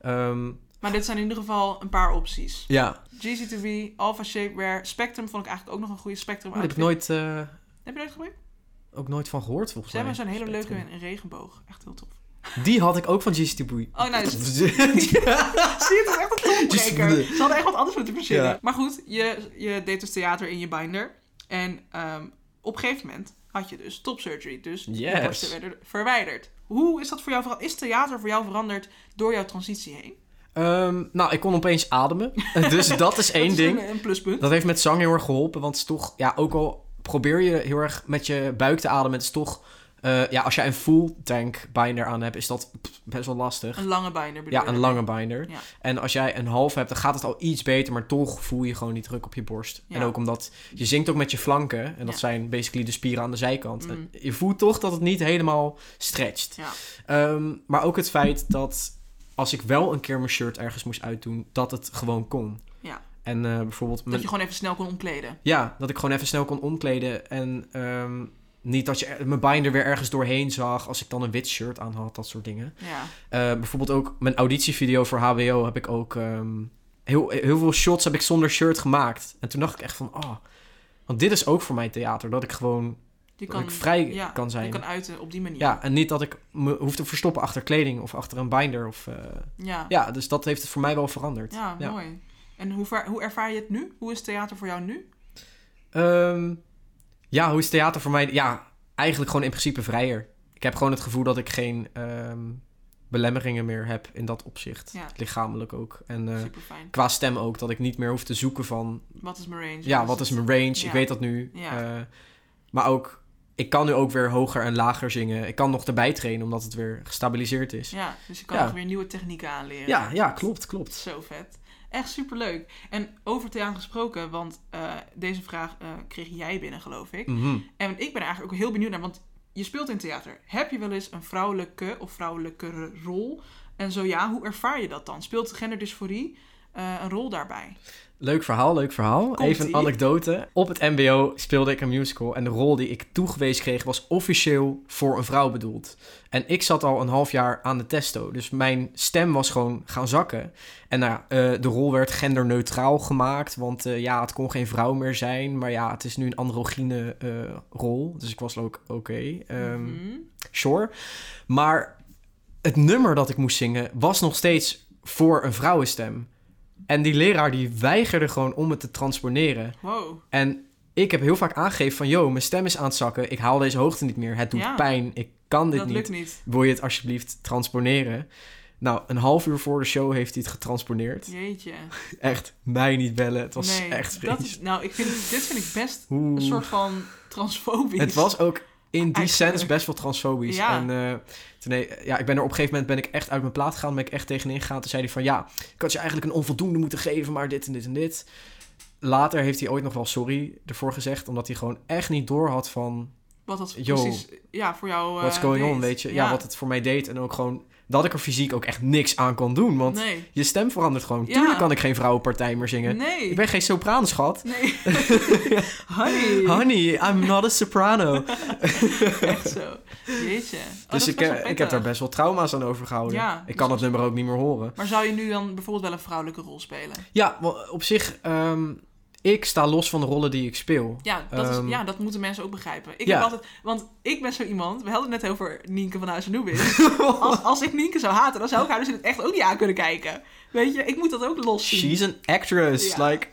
Ehm, Maar dit zijn in ieder geval een paar opties. ja. GC2B, Alpha Shapewear, Spectrum vond ik eigenlijk ook nog een goede Spectrum Daar heb ik outfit. nooit, eh, Heb je nooit gebruikt? ook nooit van gehoord, volgens Ze hebben mij. zo'n hele leuke Spectrum. in een regenboog. Echt heel tof. Die had ik ook van GCT Boei. Oh, nou, dus- Zie je, het is echt een Dus- tongbreker. Ze hadden echt wat anders moeten verzinnen. Ja. Maar goed, je, je deed dus theater in je binder. En ehm, op een gegeven moment had je dus top surgery. Dus je Yes. borsten werden verwijderd. Hoe is dat voor jou veranderd? Is theater voor jou veranderd door jouw transitie heen? Ehm, nou, ik kon opeens ademen. dus dat is één dat is ding. Een, een pluspunt. Dat heeft met zang heel erg geholpen. Want het is toch, ja, ook al probeer je heel erg met je buik te ademen, het is toch, eh, ja, als jij een full tank binder aan hebt, is dat pff, best wel lastig. Een lange binder bedoel Ja, een je? lange binder. Ja. En als jij een half hebt, dan gaat het al iets beter, maar toch voel je gewoon die druk op je borst. Ja. En ook omdat je zingt ook met je flanken, en dat Ja. zijn basically de spieren aan de zijkant. Mm. En Je voelt toch dat het niet helemaal stretcht. Ja. Ehm, maar ook het feit dat als ik wel een keer mijn shirt ergens moest uitdoen, dat het gewoon kon. Ja. En eh, bijvoorbeeld... Dat mijn- je gewoon even snel kon omkleden. ja, dat ik gewoon even snel kon omkleden. En ehm, niet dat je er- mijn binder weer ergens doorheen zag als ik dan een wit shirt aan had, dat soort dingen. Ja. Eh, bijvoorbeeld ook mijn auditievideo voor HBO heb ik ook ehm, heel, heel veel shots heb ik zonder shirt gemaakt. En toen dacht ik echt van, oh, want dit is ook voor mij theater. Dat ik gewoon, Je dat ik vrij ja, kan zijn. Je kan uiten op die manier. Ja, en niet dat ik me hoef te verstoppen achter kleding of achter een binder. Of, eh, Ja, ja, dus dat heeft het voor mij wel veranderd. Ja, Ja. mooi. En hoe, ver- hoe ervaar je het nu? Hoe is theater voor jou nu? Ehm, ja, hoe is theater voor mij? Ja, eigenlijk gewoon in principe vrijer. Ik heb gewoon het gevoel dat ik geen ehm, belemmeringen meer heb in dat opzicht. Ja. Lichamelijk ook. En eh, Super fijn. qua stem ook, dat ik niet meer hoef te zoeken van... Wat is mijn range? Ja, wat is mijn range? Ja. Ik weet dat nu. Ja. Eh, maar ook, ik kan nu ook weer hoger en lager zingen. Ik kan nog erbij trainen, omdat het weer gestabiliseerd is. Ja, Ja, dus je kan Ja. ook weer nieuwe technieken aanleren. ja, klopt, klopt. Zo vet. Echt superleuk. En over theater gesproken, want eh, deze vraag eh, kreeg jij binnen, geloof ik. Mhm. En ik ben er eigenlijk ook heel benieuwd naar, want je speelt in theater. Heb je wel eens een vrouwelijke of vrouwelijkere rol? En zo ja, hoe ervaar je dat dan? Speelt genderdysforie eh, een rol daarbij? Leuk verhaal, leuk verhaal. Komt-ie. Even een anekdote. Op het MBO speelde ik een musical en de rol die ik toegewezen kreeg was officieel voor een vrouw bedoeld. En ik zat al een half jaar aan de testo, dus mijn stem was gewoon gaan zakken. En nou, ja, eh, de rol werd genderneutraal gemaakt, want eh, ja, het kon geen vrouw meer zijn. Maar ja, het is nu een androgyne eh, rol, dus ik was ook oké. ehm, Mhm. sure. Maar het nummer dat ik moest zingen was nog steeds voor een vrouwenstem. En die leraar die weigerde gewoon om het te transponeren. Wow. En ik heb heel vaak aangegeven van... yo, mijn stem is aan het zakken. Ik haal deze hoogte niet meer. Het doet Ja. pijn. Ik kan dit Dat niet. lukt niet. Wil je het alsjeblieft transponeren? Nou, een half uur voor de show heeft hij het getransponeerd. Jeetje. Echt, mij niet bellen. Het was echt dat vreselijk. is, Nou, ik vind, dit vind ik best Oeh. een soort van transfobisch. Het was ook in die Eigenlijk. sens best wel transfobisch. Ja. En eh, toen, eh, ja, ik ben er op een gegeven moment ben ik echt uit mijn plaat gegaan. Ben ik echt tegenin gegaan. Toen zei hij van ja, ik had je eigenlijk een onvoldoende moeten geven, maar dit en dit en dit. Later heeft hij ooit nog wel sorry ervoor gezegd. Omdat hij gewoon echt niet door had van Wat dat Yo. precies ja, voor jou eh, what's going on, deed. weet je. Ja. wat het voor mij deed. En ook gewoon dat ik er fysiek ook echt niks aan kon doen. Want Nee. je stem verandert gewoon. Ja. Tuurlijk kan ik geen vrouwenpartij meer zingen. Nee. Ik ben geen sopraan, schat. Nee. Honey. Honey, I'm not a soprano. Echt zo. Jeetje. Oh, dat Dus is ik, best wel eh, ik heb daar pittig. best wel trauma's aan overgehouden. Ja, ik kan dus- het nummer ook niet meer horen. Maar zou je nu dan bijvoorbeeld wel een vrouwelijke rol spelen? Ja, wel, op zich, ehm, ik sta los van de rollen die ik speel. Ja, dat, Ehm. is, ja, dat moeten mensen ook begrijpen. Ik Ja. heb altijd, want ik ben zo iemand, we hadden het net over Nienke van Huizen Noobis. als, als ik Nienke zou haten, dan zou ik haar dus in het echt ook niet aan kunnen kijken. Weet je, ik moet dat ook los zien. She's an actress. Ja. Like,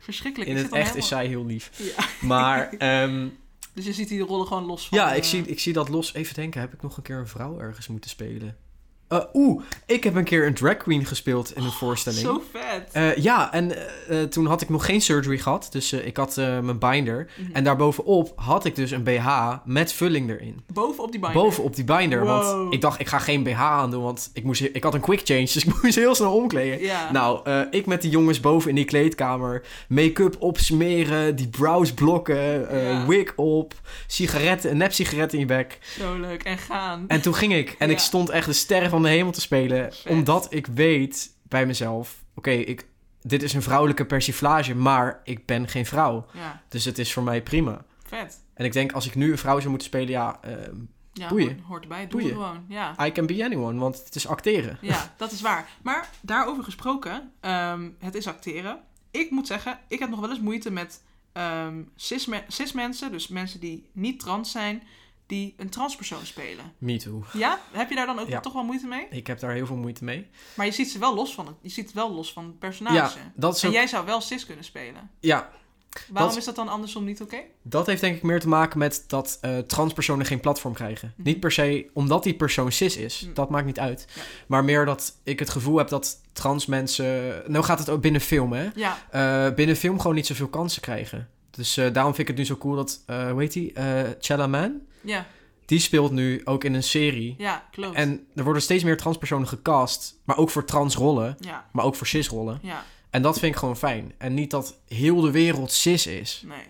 Verschrikkelijk. in ik het echt zit dan is helemaal- zij heel lief. Ja. Maar ehm, Dus je ziet die rollen gewoon los van... ja, ik eh, zie, ik zie dat los. Even denken, heb ik nog een keer een vrouw ergens moeten spelen? Eh, Oeh, ik heb een keer een drag queen gespeeld in een voorstelling. Oh, Zo vet. Eh, ja, en eh, eh, toen had ik nog geen surgery gehad. Dus eh, ik had eh, mijn binder. Mhm. En daarbovenop had ik dus een BH met vulling erin. Bovenop die binder. bovenop die binder. Wow. Want ik dacht, ik ga geen BH aandoen, want ik, moest, ik had een quick change, dus ik moest heel snel omkleden. Ja. Nou, eh, ik met die jongens boven in die kleedkamer. Make-up opsmeren, die brows blokken, eh Ja. wig op, sigaretten, een nep sigaret in je bek. Zo leuk. En gaan. En toen ging ik en Ja. ik stond echt de sterren van de hemel te spelen. Vet. Omdat ik weet bij mezelf, oké, ik dit is een vrouwelijke persiflage, maar ik ben geen vrouw. Ja, Dus het is voor mij prima. vet. En ik denk, als ik nu een vrouw zou moeten spelen, ja, eh, Ja, Doe je. hoort- hoort erbij. Doe, Doe het je. gewoon. Ja. I can be anyone, want het is acteren. ja, dat is waar. Maar daarover gesproken, ehm, het is acteren. Ik moet zeggen, ik heb nog wel eens moeite met ehm, cis, me- cis mensen, dus mensen die niet trans zijn, die een transpersoon spelen. Me too. Ja? Heb je daar dan ook Ja. toch wel moeite mee? Ik heb daar heel veel moeite mee. Maar je ziet ze wel los van het, je ziet het wel los van het personage. Ja, dat is Nou, dus, eh, En ook, jij zou wel cis kunnen spelen. ja, Waarom Dat- is dat dan andersom niet oké? dat heeft denk ik meer te maken met dat eh, transpersonen geen platform krijgen. Mhm. Niet per se omdat die persoon cis is. Mm. Dat maakt niet uit. Ja. Maar meer dat ik het gevoel heb dat trans mensen... Nou gaat het ook binnen film, hè? Ja, Eh, binnen film gewoon niet zoveel kansen krijgen. Dus eh, daarom vind ik het nu zo cool dat... eh hoe heet die? Eh Chalaman? ja, Die speelt nu ook in een serie. ja, klopt. En er worden steeds meer transpersonen gecast. Maar ook voor transrollen. Ja, Maar ook voor cisrollen. ja, En dat vind ik gewoon fijn. En niet dat heel de wereld cis is. nee.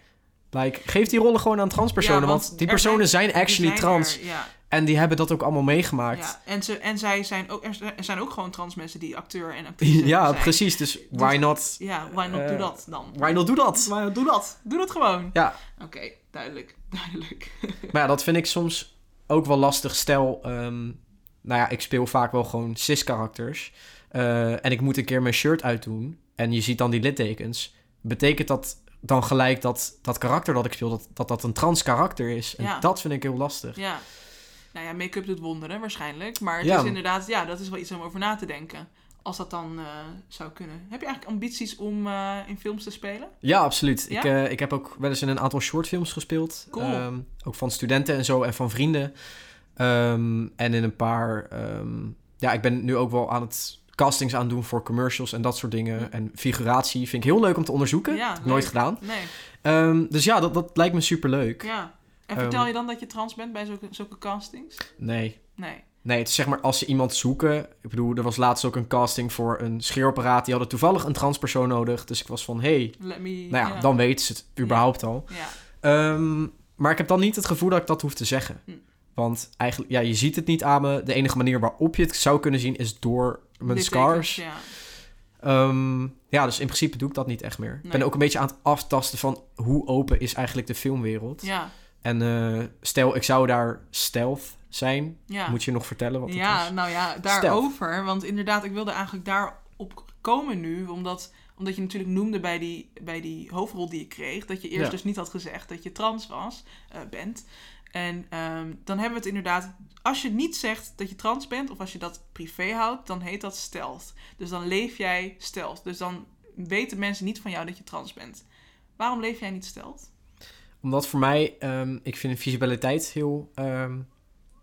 Like, geef die rollen gewoon aan transpersonen, Ja, want want, die er personen zijn, actually Die zijn trans. er, ja, En die hebben dat ook allemaal meegemaakt. Ja, ja. En, ze, en zij zijn ook, er zijn- er zijn ook gewoon trans mensen die acteur en actrice zijn. precies. Dus why not? Ja, why not do Eh, dat dan? Why not doe dat? Why not do dat? Doe dat gewoon. Ja. Oké, duidelijk, duidelijk. Maar ja, dat vind ik soms ook wel lastig. Stel, ehm, nou ja, ik speel vaak wel gewoon cis-karakters. Eh, en ik moet een keer mijn shirt uitdoen. en je ziet dan die littekens, betekent dat dan gelijk dat dat karakter dat ik speel, dat dat, dat een trans karakter is. En Ja. dat vind ik heel lastig. Ja. Nou ja, make-up doet wonderen waarschijnlijk. Maar het Ja. is inderdaad, ja, dat is wel iets om over na te denken. Als dat dan eh, zou kunnen. Heb je eigenlijk ambities om eh, in films te spelen? Ja, absoluut. Ja? Ik, eh, ik heb ook wel eens in een aantal shortfilms gespeeld. Cool. Ehm, ook van studenten en zo en van vrienden. Ehm, en in een paar... ehm, ja, ik ben nu ook wel aan het castings aan het doen voor commercials en dat soort dingen. Ja. En figuratie vind ik heel leuk om te onderzoeken. Hm. Ja, Heb ik Nooit leuk. gedaan. Nee. Ehm, dus ja, dat, dat lijkt me superleuk. Ja. En Ehm, vertel je dan dat je trans bent bij zulke, zulke castings? Nee. Nee. Nee, het is zeg maar als ze iemand zoeken... Ik bedoel, er was laatst ook een casting voor een scheerapparaat. Die hadden toevallig een transpersoon nodig. Dus ik was van, hey, Let me... nou ja, dan weten ze het überhaupt al. Ja. Ehm, maar ik heb dan niet het gevoel dat ik dat hoef te zeggen. Hm. Want eigenlijk, ja, je ziet het niet aan me. De enige manier waarop je het zou kunnen zien is door mijn Littekens, scars. Ja. Ehm, ja, dus in principe doe ik dat niet echt meer. Ik Nee. ben ook een beetje aan het aftasten van hoe open is eigenlijk de filmwereld. Ja. En eh, stel, ik zou daar stealth zijn. Ja. Moet je nog vertellen wat ja, dat is? nou ja, daarover. Want inderdaad, ik wilde eigenlijk daarop komen nu. Omdat, omdat je natuurlijk noemde bij die, bij die hoofdrol die je kreeg. Dat je eerst Ja. dus niet had gezegd dat je trans was, eh, bent. En ehm, dan hebben we het inderdaad. Als je niet zegt dat je trans bent, of als je dat privé houdt, dan heet dat stealth. Dus dan leef jij stealth. Dus dan weten mensen niet van jou dat je trans bent. Waarom leef jij niet stealth? Omdat voor mij, ehm, ik vind visibiliteit heel... ehm,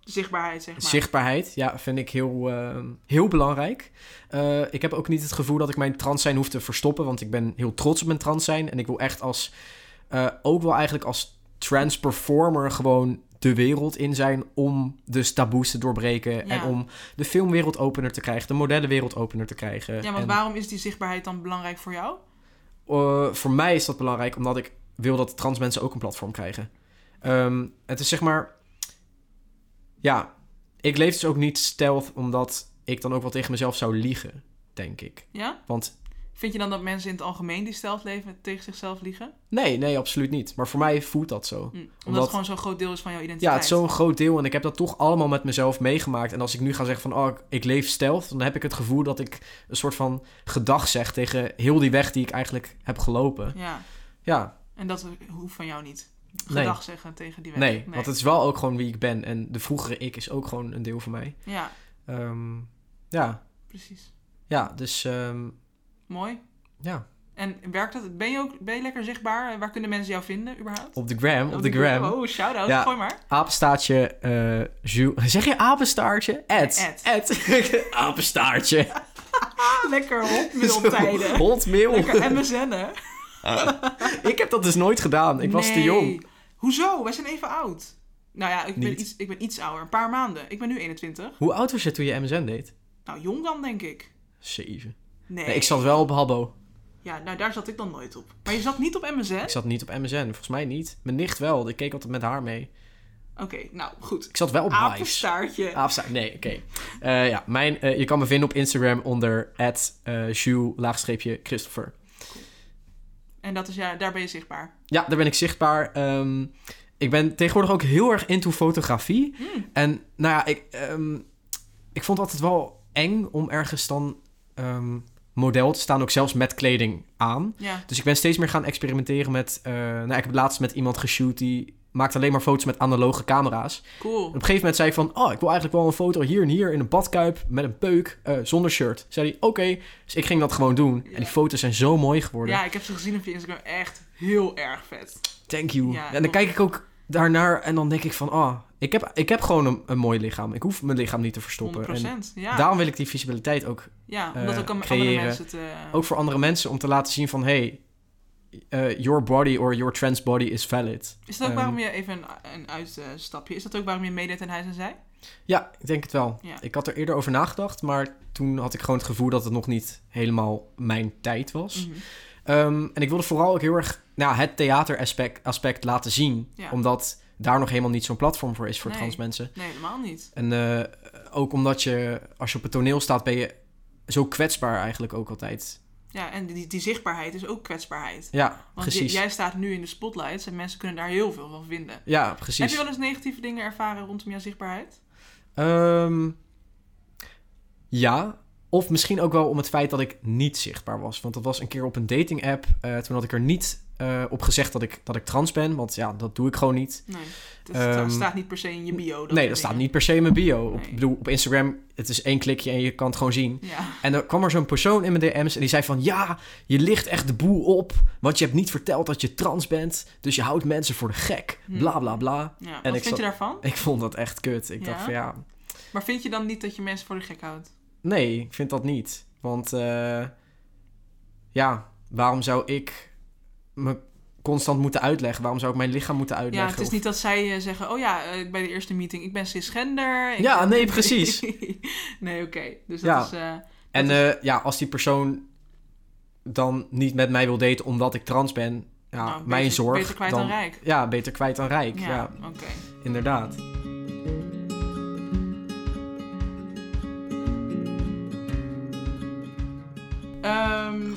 Zichtbaarheid, zeg maar. Zichtbaarheid, ja, vind ik heel, ehm, heel belangrijk. Eh, ik heb ook niet het gevoel dat ik mijn trans zijn hoef te verstoppen, want ik ben heel trots op mijn trans zijn. En ik wil echt als, eh, ook wel eigenlijk als trans performer gewoon de wereld in zijn om dus taboes te doorbreken. En om de filmwereld opener te krijgen, de modellenwereld opener te krijgen. ja, want En, waarom is die zichtbaarheid dan belangrijk voor jou? eh, voor mij is dat belangrijk, omdat ik wil dat trans mensen ook een platform krijgen. Ehm, het is zeg maar... Ja, ik leef dus ook niet stealth, omdat ik dan ook wel tegen mezelf zou liegen, denk ik. Ja? Want Vind je dan dat mensen in het algemeen die stealth leven tegen zichzelf liegen? Omdat, nee, nee, absoluut niet. Maar voor mij voelt dat zo. Omdat, het gewoon zo'n groot deel is van jouw identiteit. Ja, het is zo'n groot deel en ik heb dat toch allemaal met mezelf meegemaakt. En als ik nu ga zeggen van, oh, ik- ik leef stealth, dan heb ik het gevoel dat ik een soort van gedag zeg tegen heel die weg die ik eigenlijk heb gelopen. Ja, Ja, en dat hoeft van jou niet. Nee. Gedag zeggen tegen die weg. Nee, want het is wel ook gewoon wie ik ben. En de vroegere ik is ook gewoon een deel van mij. Ja, Ehm, ja. precies. ja, dus ehm, Mooi. ja. En werkt dat? Ben je, ook, ben je lekker zichtbaar? Waar kunnen mensen jou vinden überhaupt? Op de gram, op de gram. Oh, shout-out. Ja. Gooi maar. Apenstaartje, eh Jules. Zeg je apenstaartje? Ed. Ed. Ed. apenstaartje. Ah, Lekker hotmailtijden. Hotmail. Lekker MSN'en. Ik heb dat dus nooit gedaan. Ik was te Nee. jong. Hoezo? Wij zijn even oud. Nou ja, ik ben, Niet. iets, ik ben iets ouder. Een paar maanden. Ik ben nu 21. Hoe oud was je toen je MSN deed? Nou, jong dan, denk ik. Zeven. Nee. Nee, ik zat wel op Habbo. Ja, nou daar zat ik dan nooit op. Maar je zat niet op MSN? Ik zat niet op MSN. Volgens mij niet. Mijn nicht wel. Ik keek altijd met haar mee. Oké, nou goed. Ik zat wel op Vice. Apenstaartje. Aapsta- Nee, oké. Eh, ja, mijn, eh, je kan me vinden op Instagram onder at eh, laagstreepje Christopher. En dat is, ja, daar ben je zichtbaar. Ja, daar ben ik zichtbaar. Ehm, ik ben tegenwoordig ook heel erg into fotografie. En nou ja, ik, ehm, ik vond het altijd wel eng om ergens dan ehm, model te staan, ook zelfs met kleding aan. Ja. Dus ik ben steeds meer gaan experimenteren met... eh, nou, ik heb laatst met iemand geshoot die maakt alleen maar foto's met analoge camera's. Cool. Op een gegeven moment zei ik van, oh, ik wil eigenlijk wel een foto hier en hier in een badkuip met een peuk eh, zonder shirt. Zei hij, oké. Dus ik ging dat gewoon doen. Ja. En die foto's zijn zo mooi geworden. Ja, ik heb ze gezien op je Instagram. Echt heel erg vet. Thank you. Ja, en dan klopt. kijk ik ook daarnaar en dan denk ik van, ah, ik, heb, ik heb gewoon een, een mooi lichaam. Ik hoef mijn lichaam niet te 100%. verstoppen. En ja. daarom wil ik die visibiliteit ook, ja, omdat eh, ook aan andere creëren. mensen eh, te... ook voor andere mensen om te laten zien van, hey, eh, your body or your trans body is valid. is dat ook ehm, waarom je... Even een, een uitstapje. Is dat ook waarom je meedeed aan Hij en Zij? Ja, ik denk het wel. Ja. Ik had er eerder over nagedacht, maar toen had ik gewoon het gevoel dat het nog niet helemaal mijn tijd was. Mhm. Ehm, en ik wilde vooral ook heel erg nou, het theateraspect aspect laten zien. Ja. Omdat daar nog helemaal niet zo'n platform voor is voor Nee. trans mensen. Nee, helemaal niet. En eh, ook omdat je, als je op het toneel staat, ben je zo kwetsbaar eigenlijk ook altijd. Ja, en die, die zichtbaarheid is ook kwetsbaarheid. Ja, Want j- precies. jij staat nu in de spotlights en mensen kunnen daar heel veel van vinden. Ja, Heb precies. je wel eens negatieve dingen ervaren rondom jouw zichtbaarheid? Ehm, ja, Of misschien ook wel om het feit dat ik niet zichtbaar was. Want dat was een keer op een dating app. toen had ik er niet eh, op gezegd dat ik, dat ik trans ben. Want ja, dat doe ik gewoon niet. Nee, dat Ehm, staat niet per se in je bio. Dat nee, soort dat staat dingen. niet per se in mijn bio. Op, Nee. ik bedoel, op Instagram, het is één klikje en je kan het gewoon zien. Ja. En er kwam er zo'n persoon in mijn DM's en die zei van... Ja, je ligt echt de boel op, want je hebt niet verteld dat je trans bent. Dus je houdt mensen voor de gek. Hm. Bla, bla, bla. ja. Wat ik vind zat- je daarvan? Ik vond dat echt kut. Ik Ja? dacht van ja, Maar vind je dan niet dat je mensen voor de gek houdt? nee, ik vind dat niet. Want eh, ja, waarom zou ik me constant moeten uitleggen? Waarom zou ik mijn lichaam moeten Ja, uitleggen? het is Of- niet dat zij eh, zeggen... oh ja, eh, bij de eerste meeting, ik ben cisgender. ik Ja, ben- nee, precies. nee, oké. Dus dat Ja. is... eh, En Dat eh, ja, als die persoon dan niet met mij wil daten omdat ik trans ben, ja, nou, Ah, mijn beter- zorg. Beter kwijt dan, rijk. Ja, beter kwijt dan rijk. Ja, Ja, oké. inderdaad. Ehm,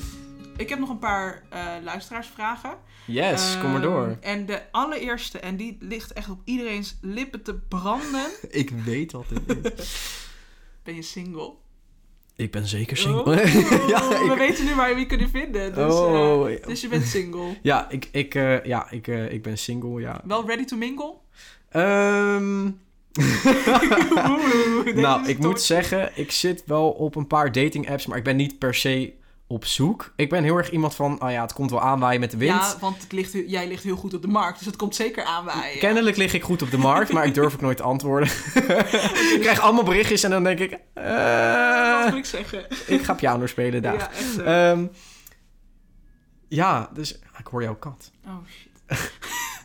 ik heb nog een paar eh, luisteraarsvragen. Yes, kom maar Ehm, door. En de allereerste, en die ligt echt op iedereen's lippen te branden. Ik weet wat dit is. Ben je single? ik ben zeker Oh, single. ja, We ik, weten nu waar je wie kunnen vinden. Dus, eh, Oh, ja. dus je bent single. ja, ik, ik, eh, ja ik, eh, ik ben single, ja. Wel ready to mingle? Ehm, Oeh, deze nou, is ik toch- moet zeggen, ik zit wel op een paar dating apps, maar ik ben niet per se op zoek. Ik ben heel erg iemand van, ah ja, het komt wel aanwaaien met de wind. Ja, want het ligt, jij ligt heel goed op de markt, dus het komt zeker aanwaaien. Kennelijk lig ik goed op de markt, maar ik durf ook nooit te antwoorden. ik krijg allemaal berichtjes en dan denk ik... eh, Wat moet ik zeggen? ik ga piano spelen daar. Ja, echt. eh. Ja, ja dus... ah, Ik hoor jouw kat. Oh shit.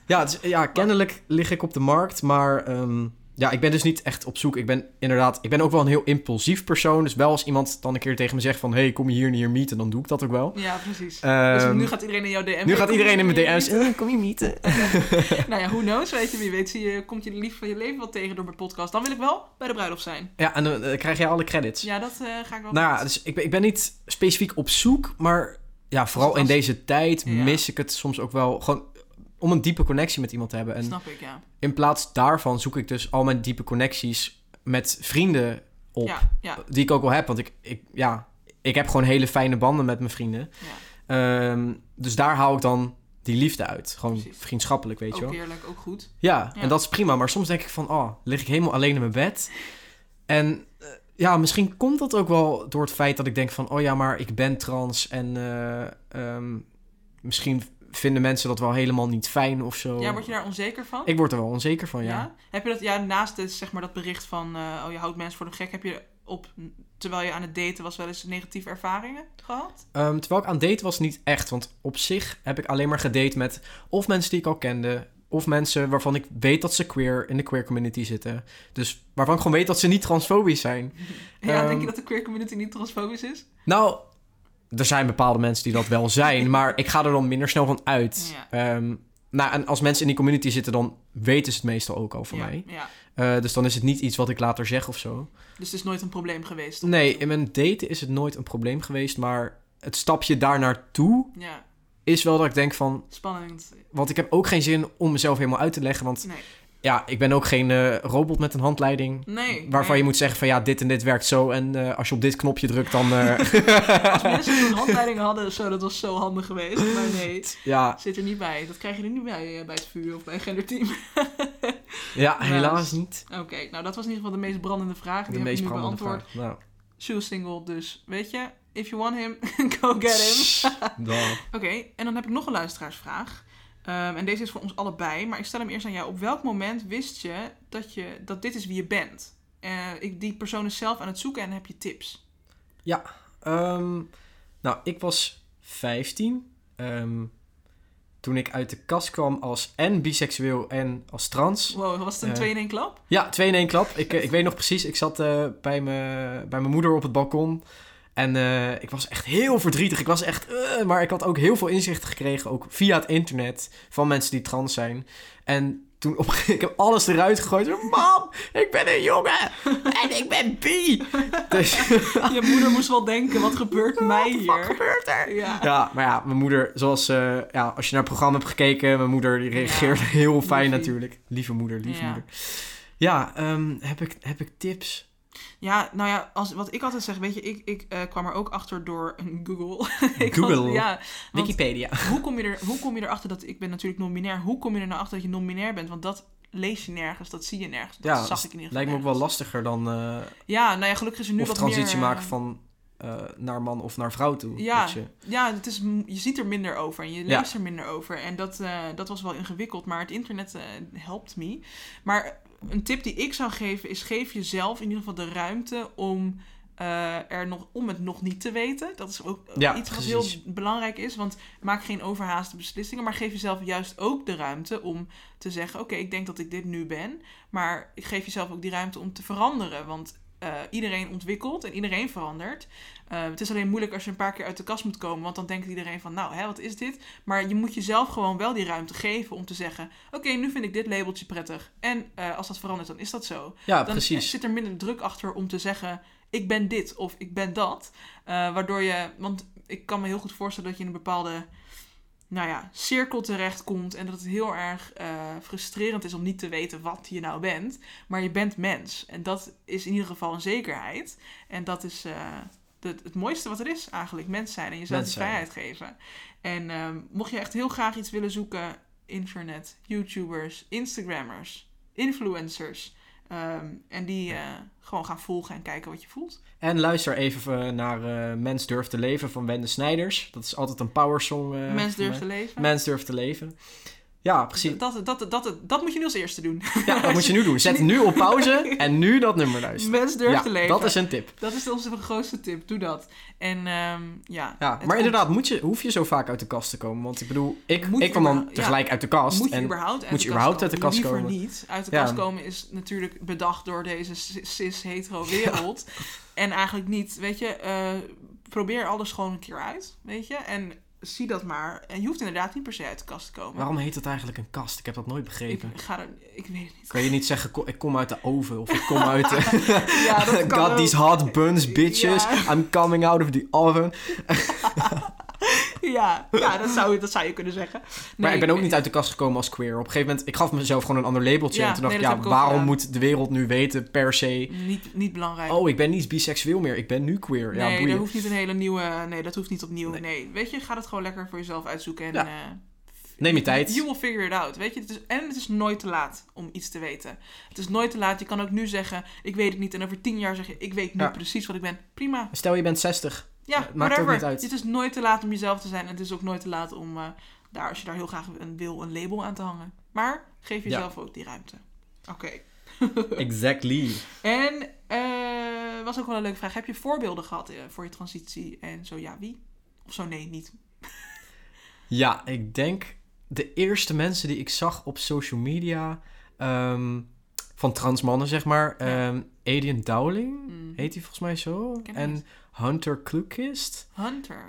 Ja, dus, ja, kennelijk lig ik op de markt, maar... ehm, ja, ik ben dus niet echt op zoek. Ik ben inderdaad... Ik ben ook wel een heel impulsief persoon. Dus wel als iemand dan een keer tegen me zegt van... hey, kom je hier en hier meeten, dan doe ik dat ook wel. Ja, precies. dus Ehm, nu gaat iedereen in jouw DM. nu gaat iedereen in mijn Kom je DM's. niet? eh, kom je meeten? nou ja, who knows, weet je wie weet. Zie je, komt je de lief van je leven wel tegen door mijn podcast. Dan wil ik wel bij de bruiloft zijn. Ja, en dan eh, krijg jij alle credits. Ja, dat eh, ga ik wel. Nou ja, doen. dus ik ben, ik ben niet specifiek op zoek, maar ja, vooral in Dus Als- deze tijd Ja. mis ik het soms ook wel gewoon om een diepe connectie met iemand te hebben. En Snap ik, ja. in plaats daarvan zoek ik dus al mijn diepe connecties met vrienden op, Ja, ja. die ik ook wel heb, want ik, ik, ja, ik heb gewoon hele fijne banden met mijn vrienden. Ehm, dus daar haal ik dan die liefde uit, gewoon Precies. vriendschappelijk, weet je ook wel. eerlijk, ook goed. Ja, Ja. en dat is prima. Maar soms denk ik van, oh, lig ik helemaal alleen in mijn bed. En eh, ja, misschien komt dat ook wel door het feit dat ik denk van, oh ja, maar ik ben trans. En eh, ehm, misschien vinden mensen dat wel helemaal niet fijn of zo. Ja, word je daar onzeker van? Ik word er wel onzeker van, Oh, ja. Heb je dat, ja, naast het, zeg maar, dat bericht van, eh, oh je houdt mensen voor de gek, heb je op, terwijl je aan het daten was, wel eens negatieve ervaringen gehad? Ehm, terwijl ik aan het daten was niet echt. Want op zich heb ik alleen maar gedate met of mensen die ik al kende. Of mensen waarvan ik weet dat ze queer in de queer community zitten. Dus waarvan ik gewoon weet dat ze niet transfobisch zijn. Ja, Ehm, denk je dat de queer community niet transfobisch is? Nou, er zijn bepaalde mensen die dat wel zijn, maar ik ga er dan minder snel van uit. Ehm, nou, en als mensen in die community zitten, dan weten ze het meestal ook al van ja, mij. ja. Eh, dus dan is het niet iets wat ik later zeg of zo. Dus het is nooit een probleem geweest. Nee, in mijn daten is het nooit een probleem geweest, maar het stapje daar naartoe Ja, is wel dat ik denk van, spannend. want ik heb ook geen zin om mezelf helemaal uit te leggen, want Nee. ja, ik ben ook geen eh, robot met een handleiding. Nee. Waarvan nee. je moet zeggen van ja, dit en dit werkt zo. En eh, als je op dit knopje drukt, dan. eh, Als mensen toen handleidingen hadden of zo, dat was zo handig geweest. Maar nee, ja, zit er niet bij. Dat krijg je er niet bij eh, bij het vuur of bij een genderteam. ja, helaas niet. Oké, nou dat was in ieder geval de meest brandende vraag. Die De heb meest ik nu brandende beantwoord. vraag. Nou. Shoe single, dus weet je, if you want him, go get him. Nou, Oké, en dan heb ik nog een luisteraarsvraag. Ehm, en deze is voor ons allebei, maar ik stel hem eerst aan jou. Op welk moment wist je dat, je, dat dit is wie je bent? Eh, ik, die persoon is zelf aan het zoeken en heb je tips? Ehm, nou, ik was 15 ehm, toen ik uit de kast kwam als en biseksueel en als trans. Wow, was het een Eh. 2 in één klap? Ja, twee in één klap. Ik, eh, ik weet nog precies, ik zat eh, bij, me, bij mijn moeder op het balkon. En eh, ik was echt heel verdrietig. Ik was echt... eh, maar ik had ook heel veel inzichten gekregen, ook via het internet, van mensen die trans zijn. En toen op, een gegeven- ik heb alles eruit gegooid. Zo, Mam, ik ben een jongen en ik ben bi. Dus... Je moeder moest wel denken, wat gebeurt mij Wat hier? gebeurt er? Ja. Ja, maar ja, mijn moeder, zoals eh, ja, als je naar het programma hebt gekeken, mijn moeder die reageert heel fijn liefie. natuurlijk. Lieve moeder, lieve Ja. moeder. Ja, ehm, heb, ik, heb ik tips? Ja, nou ja, als, wat ik altijd zeg, weet je, ik, ik eh, kwam er ook achter door een Google. Ik Google. had- ja, want Wikipedia. hoe, kom je er, hoe kom je erachter dat, ik ben natuurlijk non-binair, hoe kom je er nou achter dat je non-binair bent? Want dat lees je nergens, dat zie je nergens, dat Ja, dus zag ik in ieder geval Lijkt me ook wel nergens. lastiger dan eh, Ja, nou ja, gelukkig is er nu of wat transitie meer, eh, maken van eh, naar man of naar vrouw toe. Ja. weet je. Ja, het is, m- je ziet er minder over en je Ja. leest er minder over. En dat, eh, dat was wel ingewikkeld, maar het internet eh helpt me. Maar een tip die ik zou geven is: geef jezelf in ieder geval de ruimte om. eh, er nog, om het nog niet te weten. Dat is ook eh, Ja, iets wat precies. heel belangrijk is. Want maak geen overhaaste beslissingen. Maar geef jezelf juist ook de ruimte om te zeggen: Oké, ik denk dat ik dit nu ben. Maar ik geef jezelf ook die ruimte om te veranderen. Want eh, iedereen ontwikkelt en iedereen verandert. Eh, het is alleen moeilijk als je een paar keer uit de kast moet komen. Want dan denkt iedereen van, nou, hè, wat is dit? Maar je moet jezelf gewoon wel die ruimte geven om te zeggen... oké, nu vind ik dit labeltje prettig. En eh, als dat verandert, dan is dat zo. Ja, dan eh, precies. zit er minder druk achter om te zeggen... ik ben dit of ik ben dat. Eh, waardoor je... Want ik kan me heel goed voorstellen dat je in een bepaalde... nou ja, cirkel terechtkomt... en dat het heel erg eh, frustrerend is om niet te weten wat je nou bent. Maar je bent mens. En dat is in ieder geval een zekerheid. En dat is... eh, het, het mooiste wat er is eigenlijk. Mens zijn en jezelf Mens die zijn. vrijheid geven. En ehm, mocht je echt heel graag iets willen zoeken... internet, YouTubers, Instagrammers, influencers... ehm, en die eh, gewoon gaan volgen en kijken wat je voelt. En luister even eh, naar eh, Mens Durft te Leven van Wende Snijders. Dat is altijd een powersong. eh, Mens voor durft mij. te leven. Mens Durft te Leven. Ja, precies. Dat, dat, dat, dat, dat moet je nu als eerste doen. Ja, dat moet je nu doen. Zet nu op pauze en nu dat nummer luisteren. Mens durft Ja, te leven. dat is een tip. dat is onze grootste tip. Doe dat. En ehm, ja. Ja, het maar komt- inderdaad, moet je, hoef je zo vaak uit de kast te komen? Want ik bedoel, ik, Moet je ik kwam dan überhaupt- ja. tegelijk uit de kast. Moet je en überhaupt uit moet de je kast überhaupt uit de komen? kast Liever komen. niet. Uit de Ja. kast komen is natuurlijk bedacht door deze cis-hetero-wereld. En eigenlijk niet, weet je, eh, probeer alles gewoon een keer uit, weet je. En zie dat maar. En je hoeft inderdaad niet per se uit de kast te komen. Waarom heet dat eigenlijk een kast? Ik heb dat nooit Ik, begrepen. ga er, ik weet het niet. Kan je niet zeggen, ko- ik kom uit de oven of ik kom uit de... Ja, God, these hot buns, bitches. Ja. I'm coming out of the oven. Ja, ja dat, zou, dat zou je kunnen zeggen. maar Nee, ik ben ook niet uit de kast gekomen als queer. Op een gegeven moment, ik gaf mezelf gewoon een ander labeltje. Ja, en toen dacht nee, ik, dat ja, heb ik ook waarom gedaan. moet de wereld nu weten per se... Niet, niet belangrijk. Oh, ik ben niet biseksueel meer, ik ben nu queer. ja, nee, boeien. dat hoeft niet een hele nieuwe... Nee, dat hoeft niet opnieuw. Nee. Nee, weet je, ga dat gewoon lekker voor jezelf uitzoeken. En, Ja. eh, Neem je tijd. You will figure it out, weet je. Het is, en het is nooit te laat om iets te weten. Het is nooit te laat. Je kan ook nu zeggen, ik weet het niet. En over tien jaar zeg je, ik weet nu Ja. precies wat ik ben. Prima. Stel, je bent 60. Ja, maakt ook whatever. niet uit. Het is nooit te laat om jezelf te zijn. En het is ook nooit te laat om, eh, daar, als je daar heel graag een, wil, een label aan te hangen. Maar geef jezelf ook die ruimte. Oké. Exactly. En eh, was ook wel een leuke vraag. Heb je voorbeelden gehad eh, voor je transitie? En zo ja, wie? Of zo nee, niet. Ja, ik denk de eerste mensen die ik zag op social media... ehm, van trans mannen, zeg maar. Ja. ehm Adrian Dowling, Mhm. heet hij volgens mij zo. Ken ik En niet. Hunter Klukist. Hunter.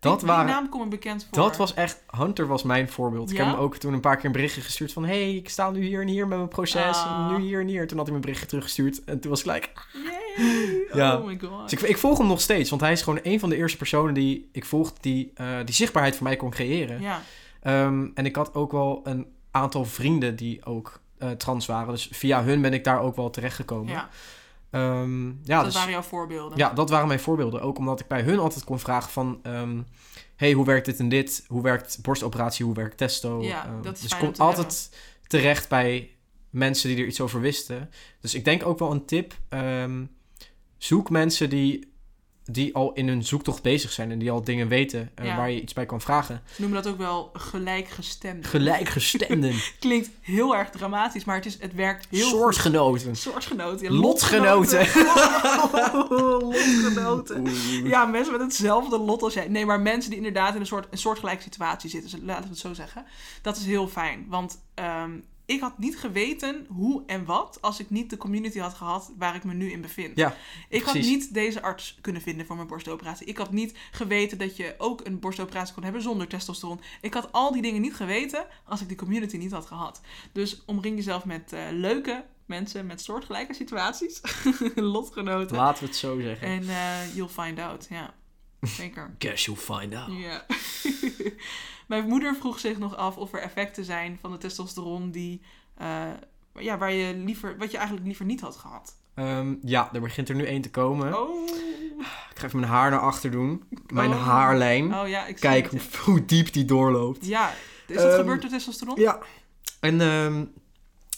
Dat die, waren- Die naam komt me bekend voor. Dat was echt, Hunter was mijn voorbeeld. Ik Ja? heb hem ook toen een paar keer een berichtje gestuurd van... hey, ik sta nu hier en hier met mijn proces, Ah. Oh, en nu hier en hier. Toen had hij mijn berichtje teruggestuurd en toen was ik gelijk... Yay. Ja. Oh my god. Dus ik, ik volg hem nog steeds, want hij is gewoon een van de eerste personen die ik volg... die eh, die zichtbaarheid voor mij kon creëren. Ja. Ehm, en ik had ook wel een aantal vrienden die ook eh, trans waren. Dus via hun ben ik daar ook wel terechtgekomen. Ja, Ehm, ja, dat dus- waren jouw voorbeelden. Ja, dat waren mijn voorbeelden. Ook omdat ik bij hun altijd kon vragen van... ehm, hey, hoe werkt dit en dit? Hoe werkt borstoperatie? Hoe werkt testo? Ja, Ehm, dat is dus ik fijn kom om te altijd terecht bij mensen die er iets over wisten. Dus ik denk ook wel een tip. ehm, zoek mensen die, die al in hun zoektocht bezig zijn... en die al dingen weten eh, Ja. waar je iets bij kan vragen. Ze noemen dat ook wel gelijkgestemd. Gelijkgestemden, Klinkt heel erg dramatisch, maar het, is, het werkt heel goed. soortgenoten. Soortgenoten. ja, Lotgenoten. Lotgenoten. Ja, mensen met hetzelfde lot als jij. Nee, maar mensen die inderdaad in een soort een soortgelijke situatie zitten. Dus laten we het zo zeggen. Dat is heel fijn. Want ehm, ik had niet geweten hoe en wat als ik niet de community had gehad waar ik me nu in bevind. Ja, ik had precies. niet deze arts kunnen vinden voor mijn borstoperatie. Ik had niet geweten dat je ook een borstoperatie kon hebben zonder testosteron. Ik had al die dingen niet geweten als ik die community niet had gehad. Dus omring jezelf met eh, leuke mensen met soortgelijke situaties. Lotgenoten. Laten we het zo zeggen. En eh, you'll find out, ja. Zeker. Guess you'll find out. Ja. Mijn moeder vroeg zich nog af of er effecten zijn van de testosteron die, eh, ja, waar je liever, wat je eigenlijk liever niet had gehad. Ehm, ja, er begint er nu één te komen. Oh, Ik ga even mijn haar naar achter doen. Mijn Oh. haarlijn. oh ja, ik zie Hm? Kijk het. hoe, hoe diep die doorloopt. Ja, is dat Ehm, gebeurd door testosteron? Ja. En ehm,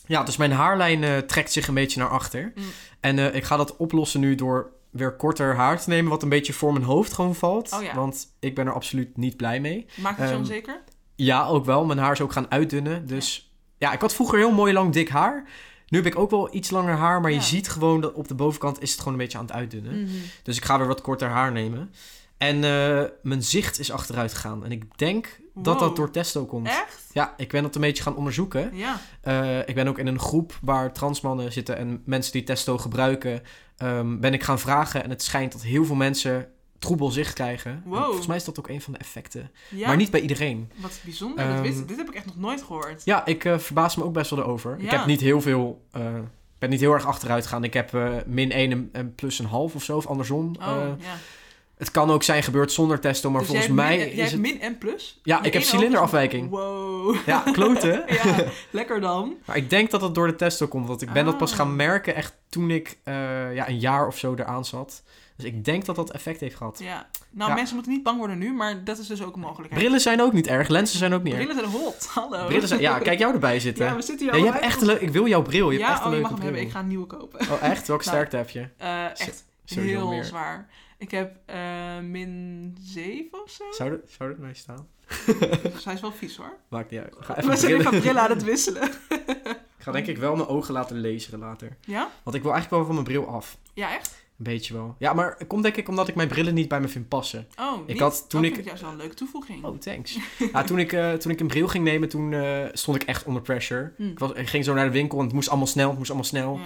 ja, dus mijn haarlijn eh, trekt zich een beetje naar achter. Mm. En eh, ik ga dat oplossen nu door weer korter haar te nemen, wat een beetje voor mijn hoofd gewoon valt. Oh ja. Want ik ben er absoluut niet blij mee. Maakt het je ehm, onzeker? Ja, ook wel. Mijn haar is ook gaan uitdunnen. Dus ja, ik had vroeger heel mooi lang dik haar. Nu heb ik ook wel iets langer haar, maar Ja. Mm. je ziet gewoon dat op de bovenkant is het gewoon een beetje aan het uitdunnen. Dus ik ga weer wat korter haar nemen. En eh, mijn zicht is achteruit gegaan. En ik denk dat Wow. dat door testo komt. Echt? Ja, ik ben dat een beetje gaan onderzoeken. Ja. Eh, ik ben ook in een groep waar transmannen zitten en mensen die testo gebruiken, ehm, ben ik gaan vragen. En het schijnt dat heel veel mensen troebel zicht krijgen. En Wow. Volgens mij is dat ook een van de effecten. ja. Maar niet bij iedereen. Wat bijzonder, dat Ehm, wist ik. Dit heb ik echt nog nooit gehoord. Ja, ik eh, verbaas me ook best wel erover. Ik Ja. heb niet heel veel. eh, ik ben niet heel erg achteruit gegaan. Ik heb eh, min 1 en, en plus een half of zo, of andersom. oh, Eh, ja. het kan ook zijn gebeurd zonder testo, maar Dus jij volgens hebt mij min, jij is hebt het... min en plus? Ja, Je ik heb ene cilinderafwijking. oog is- Wow. Ja, kloten. ja, lekker dan. Maar ik denk dat dat door de testo komt, want ik ben dat pas Ah. gaan merken echt toen ik eh, ja, een jaar of zo eraan zat. Dus ik denk dat dat effect heeft gehad. Ja. Nou, Ja. mensen moeten niet bang worden nu, maar dat is dus ook een mogelijkheid. Brillen zijn ook niet erg, lenzen zijn ook niet erg. Brillen zijn hot, hallo. Brillen zijn, ja, kijk jou erbij zitten. Ja, Ja, we zitten hier je allemaal hebt echt een leuk, ik wil jouw bril, je ja, hebt echt een oh, je leuke mag hem bril. hebben. Ik ga een nieuwe kopen. Oh echt? Welke Nou. sterkte heb je? Eh, Zo- echt sowieso heel meer. zwaar. Ik heb eh, min 7 of zo. Zou dat, zou dat mij staan? Dus hij is wel vies hoor. Maakt niet uit. Ik ga We even zijn brillen. even brillen aan het wisselen. Ik ga denk ik wel mijn ogen laten lezen later. Ja? Want ik wil eigenlijk wel van mijn bril af. Ja, echt? Een beetje wel. Ja, maar het komt denk ik omdat ik mijn brillen niet bij me vind passen. Oh, Ik had toen dat ik- vind juist wel een leuke toevoeging. Oh, thanks. ja, toen, ik, eh, toen ik een bril ging nemen, toen eh, stond ik echt onder pressure. Hm. Ik, was, ik ging zo naar de winkel en het moest allemaal snel, het moest allemaal snel. Ja.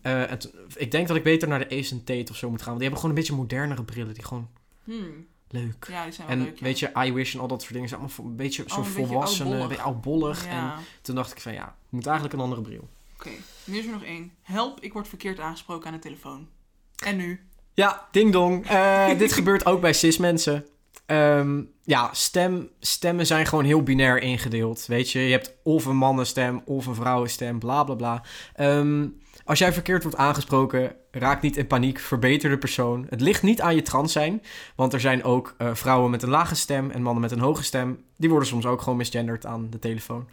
Eh, en toen- ik denk dat ik beter naar de Ace Tate of zo moet gaan. Want die hebben gewoon een beetje modernere brillen, die gewoon Hmm. leuk. ja, die zijn wel en leuk. ja. weet je, iWish en al dat soort dingen zijn allemaal vo- een beetje zo een beetje volwassen, een oudbollig. beetje oudbollig. Ja. En toen dacht ik van ja, ik moet eigenlijk een andere bril. Oké, nu is er nog één. Help, ik word verkeerd aangesproken aan de telefoon. En nu? Ja, ding dong. Eh, dit gebeurt ook bij cis mensen. Ehm, ja, stem, stemmen zijn gewoon heel binair ingedeeld. Weet je, je hebt of een mannenstem of een vrouwenstem, bla bla bla. Ehm, als jij verkeerd wordt aangesproken, raak niet in paniek, verbeter de persoon. Het ligt niet aan je trans zijn, want er zijn ook eh, vrouwen met een lage stem en mannen met een hoge stem. Die worden soms ook gewoon misgenderd aan de telefoon.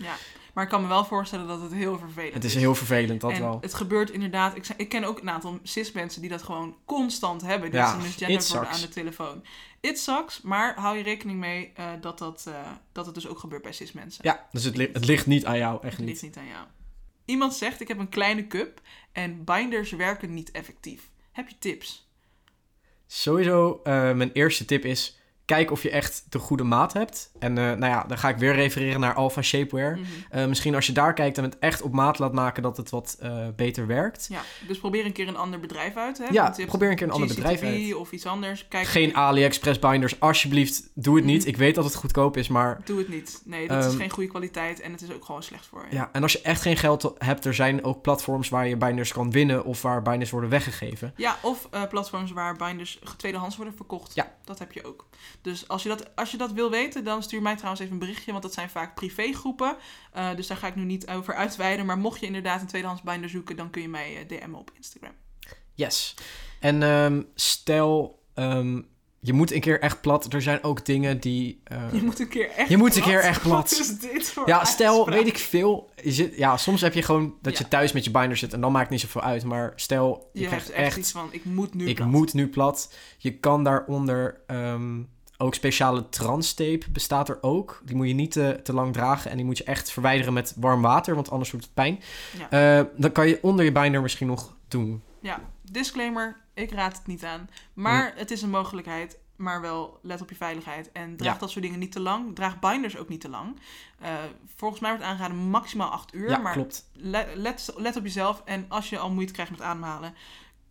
Maar ik kan me wel voorstellen dat het heel vervelend Het is heel vervelend, dat en wel. het gebeurt inderdaad. Ik, zei- ik ken ook een aantal cis-mensen die dat gewoon constant hebben. Dat Ja, ze it misgenderd worden aan sucks. de telefoon. It sucks, maar hou je rekening mee eh, dat, dat, eh, dat het dus ook gebeurt bij cis-mensen. Ja, dus het, li- het ligt niet aan jou, echt Het ligt niet. niet aan jou. Iemand zegt, ik heb een kleine cup en binders werken niet effectief. Heb je tips? Sowieso, eh, mijn eerste tip is: kijk of je echt de goede maat hebt. En eh, nou ja, dan ga ik weer refereren naar Alpha Shapewear. Mhm. Eh, misschien als je daar kijkt en het echt op maat laat maken, dat het wat eh, beter werkt. Ja, dus probeer een keer een ander bedrijf uit. Hè? Ja, Want je hebt probeer een keer een ander bedrijf GCTV uit. of iets anders. Kijk, Geen AliExpress binders, alsjeblieft, doe het Mhm. niet. Ik weet dat het goedkoop is, maar Doe het niet. Nee, dat is Ehm, geen goede kwaliteit en het is ook gewoon slecht voor je. ja. En als je echt geen geld hebt, er zijn ook platforms waar je binders kan winnen of waar binders worden weggegeven. Ja, of eh, platforms waar binders tweedehands worden verkocht. Ja. Dat heb je ook. Dus als je, dat, als je dat wil weten, dan stuur mij trouwens even een berichtje. Want dat zijn vaak privégroepen. Eh, dus daar ga ik nu niet over uitweiden. Maar mocht je inderdaad een tweedehands binder zoeken, dan kun je mij eh, DM'en op Instagram. Yes. En ehm, stel, ehm, je moet een keer echt plat. Er zijn ook dingen die. eh, Je moet een keer echt Je moet een keer echt plat. Wat is dit voor Ja, stel, uitspraak? weet ik veel. Je zit, ja, soms heb je gewoon dat Ja. je thuis met je binder zit en dan maakt het niet zoveel uit. Maar stel, je, Je hebt krijgt echt, echt, iets van, ik moet nu ik plat. moet nu plat. Je kan daaronder ehm, ook speciale transtape bestaat er ook. Die moet je niet te, te lang dragen en die moet je echt verwijderen met warm water, want anders doet het pijn. Eh, dan kan je onder je binder misschien nog doen. Ja, disclaimer, ik raad het niet aan. Maar het is een mogelijkheid, maar wel let op je veiligheid. En draag Ja. dat soort dingen niet te lang. Draag binders ook niet te lang. Eh, volgens mij wordt aangeraden maximaal 8 uur. Ja, maar klopt. le- let, let op jezelf. En als je al moeite krijgt met ademhalen,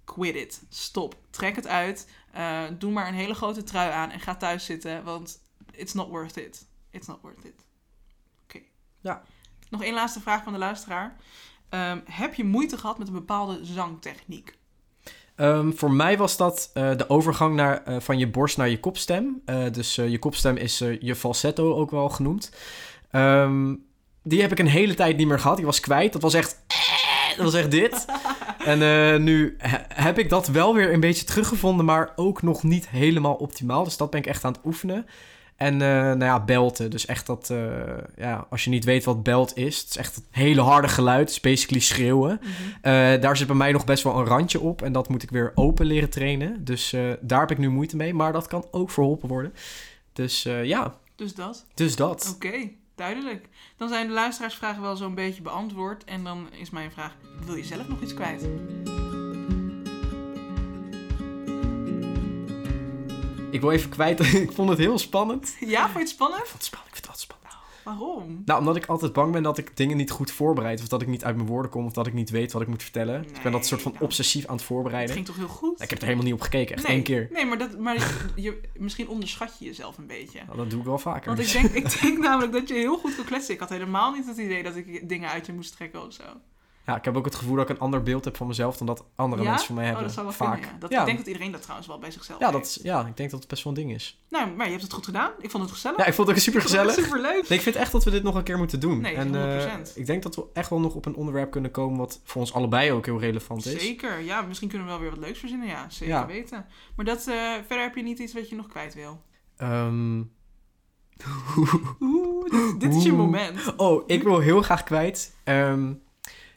quit it. Stop. Trek het uit. Eh, doe maar een hele grote trui aan en ga thuis zitten. Want it's not worth it. It's not worth it. Oké. Ja. Nog één laatste vraag van de luisteraar. Ehm, heb je moeite gehad met een bepaalde zangtechniek? Ehm, voor mij was dat eh, de overgang naar, eh, van je borst naar je kopstem. Eh, dus eh, je kopstem is eh, je falsetto ook wel genoemd. Ehm, die heb ik een hele tijd niet meer gehad. Die was kwijt. Dat was echt. Dat was echt dit. En eh, nu he- heb ik dat wel weer een beetje teruggevonden, maar ook nog niet helemaal optimaal. Dus dat ben ik echt aan het oefenen. En eh, nou ja, belten. Dus echt dat, eh, ja, als je niet weet wat belt is, het is echt het hele harde geluid. Het is basically schreeuwen. Eh, daar zit bij mij nog best wel een randje op. En dat moet ik weer open leren trainen. Dus eh, daar heb ik nu moeite mee. Maar dat kan ook verholpen worden. Dus eh, ja, Dus dat. dus dat. Oké, duidelijk. Dan zijn de luisteraarsvragen wel zo'n beetje beantwoord. En dan is mijn vraag, wil je zelf nog iets kwijt? Oh. Ik wil even kwijt. ik vond het heel spannend. Ik Ja, vond je het spannend? vond het spannend. Ik vind het altijd spannend. Waarom? Nou, omdat ik altijd bang ben dat ik dingen niet goed voorbereid. Of dat ik niet uit mijn woorden kom. Of dat ik niet weet wat ik moet vertellen. Dus ik ben dat soort van Nee, nou. obsessief aan het Het voorbereiden. Nou, ging toch heel goed? Ik heb er helemaal niet op gekeken. Echt nee, één keer. Nee, maar, dat, maar je, je- misschien onderschat je jezelf een beetje. Nou, dat doe ik wel vaker. Want ik denk, ik denk namelijk dat je heel goed kon kletsen. Ik had helemaal niet het idee dat ik dingen uit je moest trekken of zo. Ja, ik heb ook het gevoel dat ik een ander beeld heb van mezelf dan dat andere ja? mensen van mij hebben. Oh, dat zou wel Vaak. kunnen, ja. Dat, ja. Ik denk dat iedereen dat trouwens wel bij zichzelf ja, dat heeft. is- ja, ik denk dat het best wel een ding is. Nou, maar je hebt het goed gedaan. Ik vond het gezellig. Ja, ik vond het ook super gezellig. Super leuk. Nee, ik vind echt dat we dit nog een keer moeten doen. Nee, en eh, 100%. ik denk dat we echt wel nog op een onderwerp kunnen komen wat voor ons allebei ook heel relevant is. Zeker, ja. Misschien kunnen we wel weer wat leuks verzinnen, ja. Zeker Ja. weten. Maar dat, eh, verder heb je niet iets wat je nog kwijt wil. Ehm, Oeh, dit, dit is je Oeh. moment. oh, ik wil heel graag kwijt. ehm,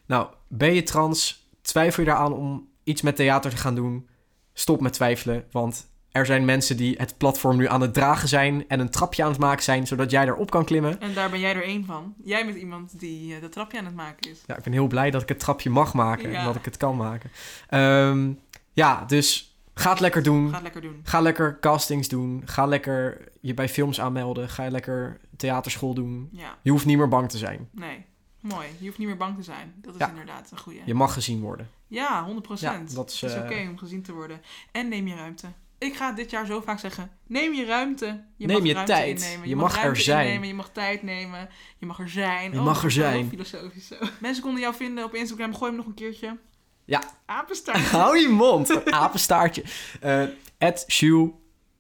nou, ben je trans? Twijfel je daaraan om iets met theater te gaan doen? Stop met twijfelen, want er zijn mensen die het platform nu aan het dragen zijn en een trapje aan het maken zijn, zodat jij daarop kan klimmen. En daar ben jij er één van. Jij bent iemand die eh, dat trapje aan het maken is. Ja, ik ben heel blij dat ik het trapje mag maken Ja. en dat ik het kan maken. Ehm, ja, dus ga het lekker doen. Ga het lekker doen. Ga lekker castings doen. Ga lekker je bij films aanmelden. Ga lekker theaterschool doen. Ja, Je hoeft niet meer bang te zijn. nee. Mooi. Je hoeft niet meer bang te zijn. Dat is Ja. inderdaad een goeie. Je mag gezien worden. Ja, 100 Ja, dat is, het is eh, oké om gezien te worden. En neem je ruimte. Ik ga het dit jaar zo vaak zeggen. Neem je ruimte. Je Neem mag je ruimte tijd. Innemen. Je mag er ruimte zijn. Innemen. Je mag tijd nemen. Je mag er zijn. Je mag er dat is wel zijn. Filosofisch zo. Mensen konden jou vinden op Instagram. Gooi hem nog een keertje. Ja. Apenstaart. Hou je mond. een Apenstaartje. Eh, At Sjoe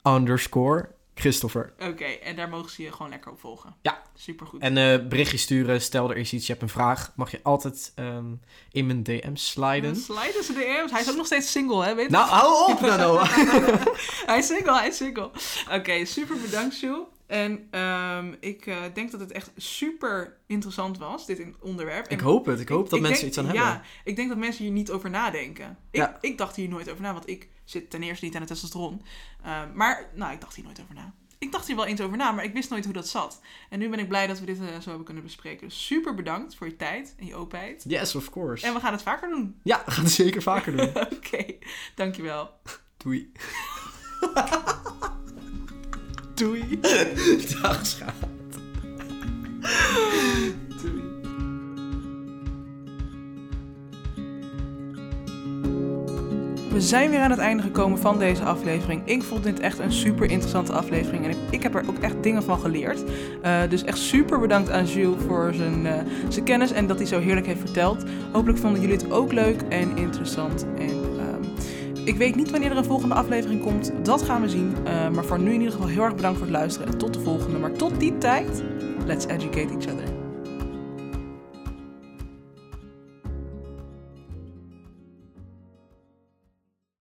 underscore Christopher. Oké, en daar mogen ze je gewoon lekker op volgen. Ja. Supergoed. En eh, berichtje sturen. Stel er is iets. Je hebt een vraag. Mag je altijd ehm, in mijn DM sliden. Sliden ze DM's. Hij is ook nog steeds single, hè? Weet je? Nou, hou op, Nano. Hij is single, hij is single. Oké, super bedankt, Jules. En ehm, ik eh, denk dat het echt super interessant was, dit in- onderwerp. ik En hoop het. Ik hoop dat ik mensen denk- iets aan ja, hebben. ik denk dat mensen hier niet over nadenken. Ik, Ja. ik dacht hier nooit over na, want ik zit ten eerste niet aan de testosteron. Ehm, maar, nou, ik dacht hier nooit over na. Ik dacht hier wel eens over na, maar ik wist nooit hoe dat zat. En nu ben ik blij dat we dit eh, zo hebben kunnen bespreken. Dus super bedankt voor je tijd en je openheid. Yes, of course. En we gaan het vaker doen. Ja, we gaan het zeker vaker doen. Oké, dankjewel. Doei. Doei. Dag, schat. Doei. We zijn weer aan het einde gekomen van deze aflevering. Ik vond dit echt een super interessante aflevering. En ik, ik heb er ook echt dingen van geleerd. Eh, dus echt super bedankt aan Jules voor zijn, eh, zijn kennis en dat hij zo heerlijk heeft verteld. Hopelijk vonden jullie het ook leuk en interessant. En ehm, ik weet niet wanneer er een volgende aflevering komt. Dat gaan we zien. Eh, maar voor nu in ieder geval heel erg bedankt voor het luisteren. En tot de volgende. Maar tot die tijd, let's educate each other.